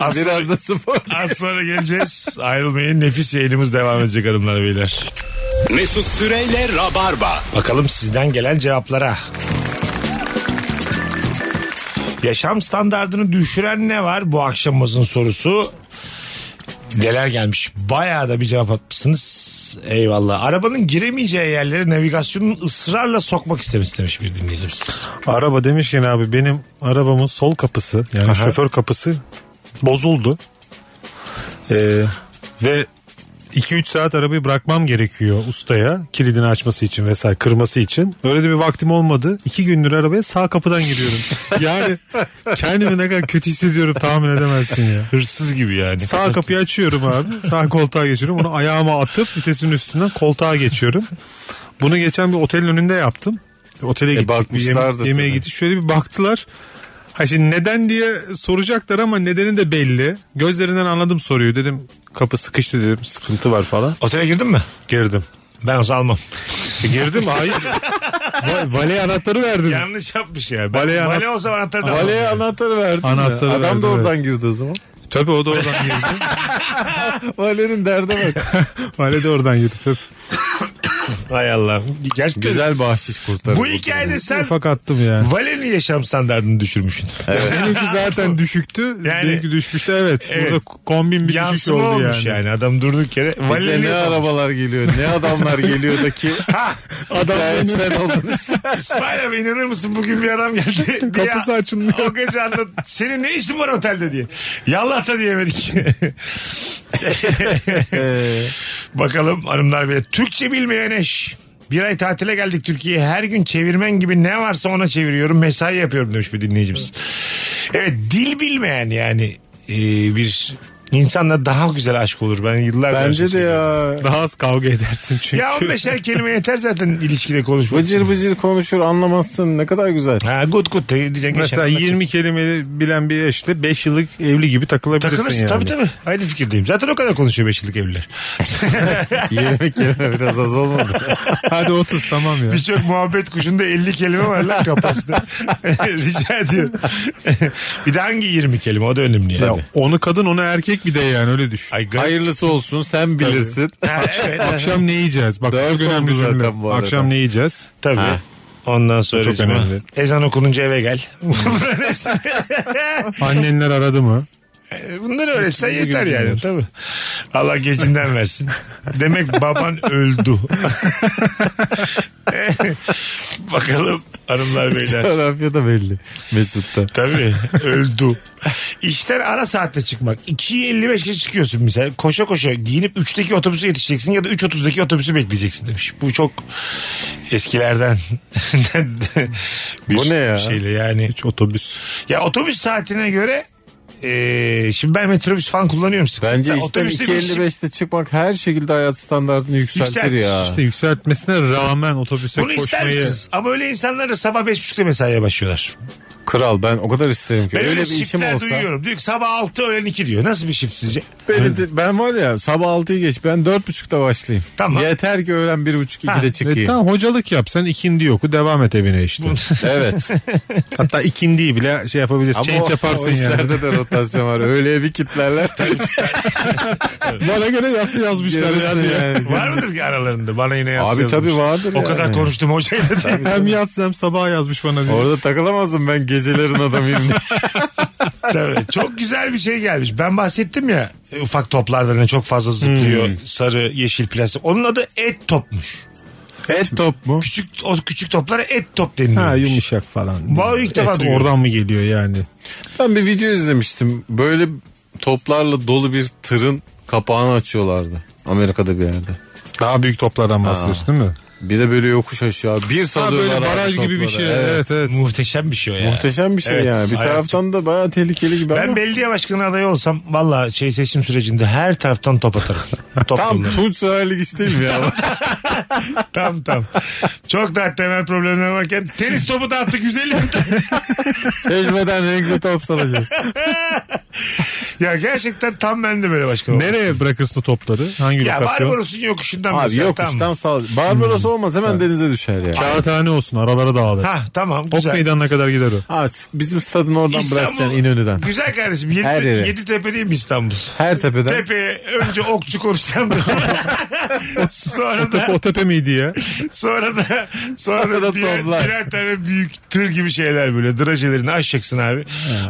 S2: Az,
S3: Biraz da spor.
S2: az sonra geleceğiz. Ayrılmayın. Nefis yayınımız devam edecek hanımlar beyler.
S1: Mesut Süreyle Rabarba.
S2: Bakalım sizden gelen cevaplara. Yaşam standartını düşüren ne var bu akşamımızın sorusu? Neler gelmiş? Bayağı da bir cevap atmışsınız. Eyvallah. Arabanın giremeyeceği yerlere navigasyonun ısrarla sokmak istemesi demiş bir dinleyicimiz.
S4: Araba demişken abi benim arabamın sol kapısı yani
S2: Aha.
S4: şoför kapısı bozuldu. Ee, ve 2-3 saat arabayı bırakmam gerekiyor ustaya kilidini açması için vesaire kırması için. Öyle de bir vaktim olmadı. 2 gündür arabaya sağ kapıdan giriyorum. yani kendimi ne kadar kötü hissediyorum tahmin edemezsin ya.
S2: Hırsız gibi yani.
S4: Sağ kapıyı açıyorum abi. Sağ koltuğa geçiyorum. Onu ayağıma atıp vitesin üstünden koltuğa geçiyorum. Bunu geçen bir otelin önünde yaptım. Otele gittik. bir
S3: E,
S4: yeme-
S3: bakmışlardı
S4: yemeğe
S3: sana.
S4: gittik. Şöyle bir baktılar. Ha şimdi neden diye soracaklar ama nedeni de belli. Gözlerinden anladım soruyu. Dedim kapı sıkıştı dedim. Sıkıntı var falan.
S2: Otele girdin mi?
S4: Girdim.
S2: Ben olsa almam.
S4: E, girdim
S3: [LAUGHS]
S4: hayır. Va- Valeye anahtarı verdim.
S2: [LAUGHS] Yanlış yapmış ya. Ben,
S4: Vale
S2: vale,
S4: ana-
S2: olsa anahtarı da almam.
S3: Valeye anahtarı verdin.
S4: Anahtarı
S3: Anahtarı Adam
S4: verdim,
S3: da
S4: evet.
S3: oradan girdi o zaman.
S4: Tabii o da oradan girdi.
S3: [LAUGHS] Valenin derde bak.
S4: [LAUGHS] Vale de oradan girdi. Tabii.
S2: Hay Allah. Gerçekten
S3: Güzel bahşiş kurtarır.
S2: Bu hikayede sen
S4: Ufak attım ya.
S2: Valen'in yaşam standartını düşürmüşsün. [LAUGHS]
S4: Benimki zaten düşüktü.
S2: Yani-
S4: Benimki düşmüştü evet.
S2: Evet.
S4: Burada kombin bir düşüş
S2: Yansıma
S4: oldu
S2: olmuş yani.
S4: yani.
S2: Adam durduk yere.
S3: Bize
S2: Valen'in
S3: ne arabalar geliyor ne adamlar geliyor da ki adam sen oldun işte.
S2: [LAUGHS] İsmail abi inanır mısın bugün bir adam geldi. diye-
S4: Kapısı açılmıyor.
S2: O gece anlat. Senin ne işin var otelde diye. Yallah da
S3: [LAUGHS]
S2: diyemedik. Bakalım hanımlar bile. Türkçe bilmeyen eş. Bir ay tatile geldik Türkiye'ye. Her gün çevirmen gibi ne varsa ona çeviriyorum. Mesai yapıyorum demiş bir dinleyicimiz. Evet dil bilmeyen yani e, bir insanla daha güzel aşk olur. Ben yıllardır
S3: Bence de
S2: söylüyorum.
S3: ya.
S4: Daha az kavga edersin çünkü.
S2: Ya
S4: [LAUGHS]
S2: 15'er kelime yeter zaten ilişkide konuşmak.
S3: Bıcır bıcır konuşur anlamazsın ne kadar güzel.
S2: Ha good good diyeceksin.
S4: Mesela
S2: Geçen-
S4: 20 kelimeli bilen bir eşle 5 yıllık evli gibi takılabilirsin
S2: Takılırsın
S4: yani. [LAUGHS]
S2: tabii tabii. Aynı fikirdeyim. Zaten o kadar konuşuyor beş yıllık evliler.
S3: Yemek yerine biraz
S2: [LAUGHS]
S3: az olmadı.
S4: Hadi 30 tamam ya.
S2: Birçok muhabbet kuşunda 50 kelime var lan kafasında. [LAUGHS] Rica ediyorum. [LAUGHS] bir de hangi 20 kelime o da önemli yani.
S4: Ya onu kadın onu erkek bir de yani öyle düşün.
S2: Ay, garip.
S3: Hayırlısı olsun sen bilirsin.
S2: Ha, evet
S4: Akşam ne yiyeceğiz? Bak
S3: Dört
S4: çok önemli
S3: oldu zaten
S4: zaten
S3: bu arada.
S4: Akşam ne yiyeceğiz?
S2: tabii.
S3: Ha.
S2: Ondan sonra
S4: Çok önemli.
S2: ezan okununca eve gel. [LAUGHS] Bunların hepsi-
S4: Annenler aradı mı?
S2: Bunları öğretsen yeter yani tabii. Allah gecinden versin. Demek baban öldü. [LAUGHS] Bakalım hanımlar beyler.
S3: Coğrafyada belli.
S2: [LAUGHS]
S3: Mesut'ta.
S2: Tabii öldü. İşten ara saatte çıkmak. 2.55 geçe çıkıyorsun mesela. Koşa koşa giyinip 3'teki otobüse yetişeceksin ya da 3.30'daki otobüsü bekleyeceksin demiş. Bu çok
S3: [LAUGHS]
S2: eskilerden bir
S3: Bu ne ya?
S2: şeyle yani.
S4: Hiç otobüs.
S2: Ya otobüs saatine göre e, şimdi ben metrobüs falan kullanıyorum sık sık.
S3: Bence
S2: Sen
S3: işten
S2: otobüste bir şey-
S3: 2.55'te çıkmak her şekilde hayat standartını yükseltir
S2: Yükselt.
S3: ya.
S4: İşte yükseltmesine rağmen otobüse
S2: Bunu ister
S4: koşmayı.
S2: misiniz? Ama öyle insanlar da sabah 5.30'da mesaiye başlıyorlar.
S3: Kral ben o kadar isterim ki.
S2: Ben
S3: öyle
S2: öyle,
S3: bir işim
S2: shiftler
S3: olsa.
S2: duyuyorum. Diyor ki sabah 6 öğlen 2 diyor. Nasıl bir shift sizce?
S3: Beni de- ben var ya sabah 6'yı geç ben 4.30'da başlayayım.
S2: Tamam.
S3: Yeter ki öğlen 1.30-2'de
S4: E,
S3: çıkayım.
S4: tamam hocalık yap sen ikindi yoku devam et evine işte.
S3: [LAUGHS] Evet.
S4: [LAUGHS] Hatta ikindiyi bile şey yapabilirsin.
S3: Ama
S4: change
S3: o,
S4: yaparsın
S3: o
S4: yani.
S3: işlerde de rotasyon var. Öyle bir kitlerler.
S4: Bana göre yatsı yazmışlar
S3: Gerisi
S4: yani. [LAUGHS]
S3: yani.
S2: Var mıdır ki aralarında? Bana yine yazsın.
S3: Abi tabii vardır
S2: O
S3: yani.
S2: kadar konuştum hocayla
S3: [LAUGHS]
S2: diye.
S4: Hem yatsı hem sabah yazmış bana. diye.
S3: Orada takılamazsın ben gecelerin adamıyım. [LAUGHS] diye.
S2: Tabii. Çok güzel bir şey gelmiş. Ben bahsettim ya e, ufak toplardan hani çok fazla zıplıyor.
S3: Hmm.
S2: Sarı, yeşil, plastik. Onun adı et topmuş.
S4: Et top mu?
S2: Küçük o küçük toplara et top deniliyor.
S4: Ha yumuşak falan.
S2: Vallahi ilk defa
S4: Et
S2: duyuyorum.
S4: oradan mı geliyor yani?
S3: ben bir video izlemiştim. Böyle toplarla dolu bir tırın kapağını açıyorlardı. Amerika'da bir yerde.
S4: Daha büyük toplardan bahsediyorsun değil mi?
S3: Bir de böyle yokuş aşağı bir
S4: Ha
S3: salıyorlar.
S4: böyle
S3: abi
S4: baraj gibi bir
S3: topları.
S4: şey. Evet evet.
S2: Muhteşem bir şey o ya.
S3: Muhteşem bir şey
S2: Evet,
S3: yani. Bir
S2: hayat-
S3: taraftan da bayağı tehlikeli gibi
S2: Ben
S3: ama.
S2: belediye başkanı adayı olsam valla şey seçim sürecinde her taraftan top atarım. Top
S3: [LAUGHS] Tam
S2: tam,
S3: Tunç Sahil Ligi değil mi
S4: [LAUGHS]
S3: ya?
S2: tam tam. Çok daha temel problemler varken tenis topu da attık 150
S3: Çeşmeden renkli top salacağız.
S2: ya gerçekten tam ben de böyle başkan olurum.
S4: [LAUGHS] Nereye bırakırsın o topları? Hangi
S2: Ya
S4: lokasyon? Hmm.
S2: Barbaros'un yokuşundan
S3: Abi
S2: mesela,
S3: yokuştan
S2: tamam.
S3: sal. Barbaros olmaz hemen denize düşer ya.
S4: Kağıthane olsun aralara dağılır.
S2: Ha tamam
S4: Ok
S2: güzel.
S4: meydanına kadar gider o.
S3: Ha, bizim stadın oradan bırakacaksın İnönü'den.
S2: Güzel kardeşim.
S3: Her
S2: Yedi,
S3: yere.
S2: yedi tepe değil mi İstanbul?
S3: Her tepeden.
S2: Tepeye önce okçu konuştan [LAUGHS] sonra
S4: Tepe,
S2: da
S4: o tepe
S2: [LAUGHS]
S4: miydi ya?
S2: sonra da sonra da
S3: Sonra da
S2: birer,
S3: toplar.
S2: birer tane büyük tır gibi şeyler böyle drajelerini aşacaksın abi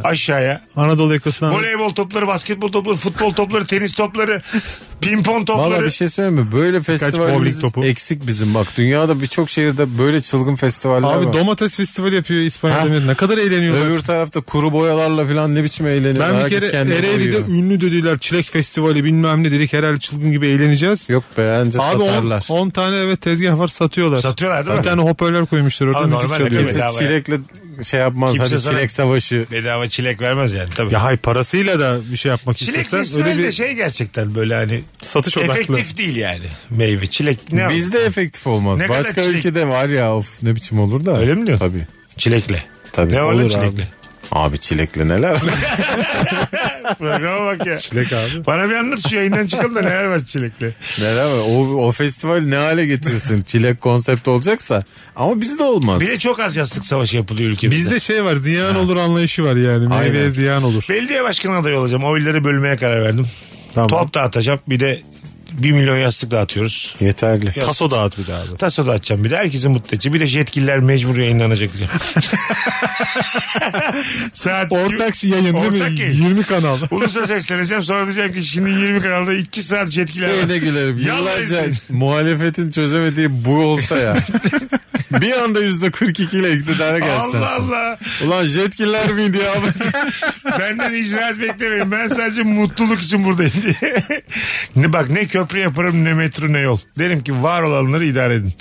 S2: aşağıya
S4: Anadolu yakasından.
S2: voleybol topları basketbol topları futbol topları tenis topları [LAUGHS] pimpon
S3: Valla
S2: topları
S3: bir şey söyleyeyim mi? Böyle
S4: bowling
S3: festivalimiz
S4: topu?
S3: eksik bizim bak. Dünyada birçok şehirde böyle çılgın festivaller
S4: Abi
S3: var.
S4: domates festivali yapıyor
S3: Ha.
S4: İspanya'da. millet. Ne kadar eğleniyorlar.
S3: Öbür tarafta kuru boyalarla falan ne biçim eğleniyor.
S4: ben bir
S3: Herkes
S4: kere
S3: kendini
S4: Ereğli'de
S3: boyuyor.
S4: ünlü dediler çilek festivali bilmem ne dedik herhalde çılgın gibi eğleneceğiz.
S3: Yok be anca
S4: Abi
S3: satarlar.
S4: 10 tane evet tezgah var satıyorlar.
S2: Satıyorlar değil
S4: bir
S2: mi?
S4: tane hoparlör koymuşlar orada
S2: Abi
S4: müzik
S2: normal
S4: çalıyor.
S2: evet.
S3: Kimse
S2: bedava ya.
S3: çilekle şey yapmaz.
S2: Kimse
S3: Hadi
S2: sana-
S3: çilek savaşı.
S2: bedava çilek vermez yani tabii.
S4: Ya hay parasıyla da bir şey yapmak
S2: Çilek
S4: istesen öyle
S2: festivali
S4: bir
S2: de şey gerçekten böyle hani
S4: satış odaklı.
S2: efektif değil yani meyve çilek ne
S3: Bizde efektif olmaz.
S2: Ne kadar
S3: Başka
S2: çilek-
S3: ülkede var ya of ne biçim olur da.
S2: Öyle mi diyorsun?
S3: Tabii.
S2: çilekle
S3: Tabii.
S2: Ne var lan
S3: Olur
S2: çilekle?
S3: Abi. abi çilekle neler?
S2: [LAUGHS] programa bak ya.
S4: [LAUGHS] Çilek abi.
S2: Bana bir anlat şu yayından çıkalım da neler var çilekli.
S3: neler var? O, o festival ne hale getirsin? çilek konsept olacaksa. Ama bizde olmaz.
S2: Bir de çok az yastık savaşı yapılıyor ülkemizde.
S4: Bizde şey var ziyan olur anlayışı var yani.
S3: Aynen.
S4: Meyveye ziyan olur.
S2: Belediye başkanı adayı olacağım. Oyları bölmeye karar verdim.
S4: Tamam.
S2: Top dağıtacağım. Bir de 1 milyon yastık dağıtıyoruz.
S3: Yeterli.
S4: Taso dağıt bir daha abi.
S2: Taso dağıtacağım bir de herkesi mutlu edeceğim. Bir de yetkililer mecbur yayınlanacak diyeceğim. [LAUGHS] Saat
S4: Ortak yayın değil
S2: Ortak
S4: mi?
S2: yayın.
S4: 20
S2: [LAUGHS]
S4: kanal.
S2: Ulusa sesleneceğim sonra diyeceğim ki şimdi 20 kanalda 2 saat yetkililer var.
S3: Şeyine Şey gülerim.
S2: Yalnız-
S3: Yıllarca [LAUGHS] muhalefetin çözemediği bu olsa
S2: [LAUGHS]
S3: ya. bir anda yüzde 42 ile iktidara [LAUGHS] gelsin.
S2: Allah Allah.
S3: Ulan yetkililer
S2: [LAUGHS]
S3: miydi ya?
S2: Benden icraat beklemeyin. Ben sadece mutluluk için buradayım diye. [LAUGHS] ne bak ne köprü yaparım ne metro ne yol. Derim ki var olanları idare edin.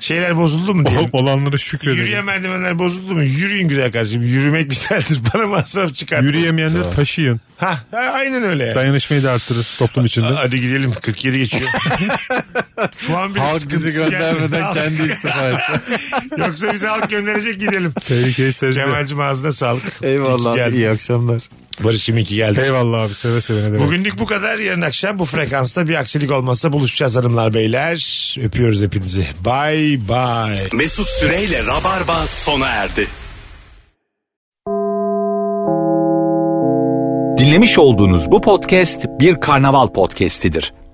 S2: Şeyler bozuldu mu
S3: [LAUGHS]
S2: diyelim.
S4: Olanlara şükredelim.
S2: Yürüyen merdivenler bozuldu mu? Yürüyün güzel kardeşim. Yürümek [LAUGHS] güzeldir. Bana masraf çıkar.
S4: Yürüyemeyenleri taşıyın.
S2: Ha, ha, aynen öyle. yani.
S4: Dayanışmayı da arttırır toplum içinde.
S2: Hadi gidelim 47
S3: [LAUGHS]
S2: geçiyor. Şu an [LAUGHS] bir
S3: Halk bizi göndermeden kendi istifa etti.
S2: Yoksa bize halk gönderecek gidelim.
S4: Tehlikeyi sezdi.
S2: Kemal'cim ağzına sağlık. İyi ki
S3: Eyvallah.
S2: geldin.
S3: İyi akşamlar.
S2: Barış'ım iyi ki geldin.
S4: Eyvallah abi seve seve ne demek.
S2: Bugünlük bu kadar. Yarın akşam bu frekansta bir aksilik olmazsa buluşacağız hanımlar beyler. Öpüyoruz hepinizi. Bye bye.
S1: Mesut Süreyle Rabarba sona erdi.
S7: Dinlemiş olduğunuz bu podcast bir karnaval podcastidir.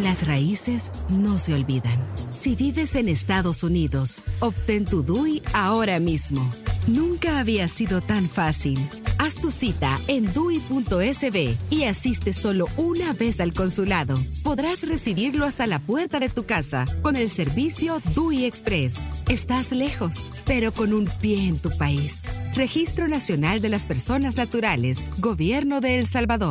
S5: las raíces no se olvidan. Si vives en Estados Unidos, obtén tu DUI ahora mismo. Nunca había sido tan fácil. Haz tu cita en DUI.sb y asiste solo una vez al consulado. Podrás recibirlo hasta la puerta de tu casa con el servicio DUI Express. Estás lejos, pero con un pie en tu país. Registro Nacional de las Personas Naturales, Gobierno de El Salvador.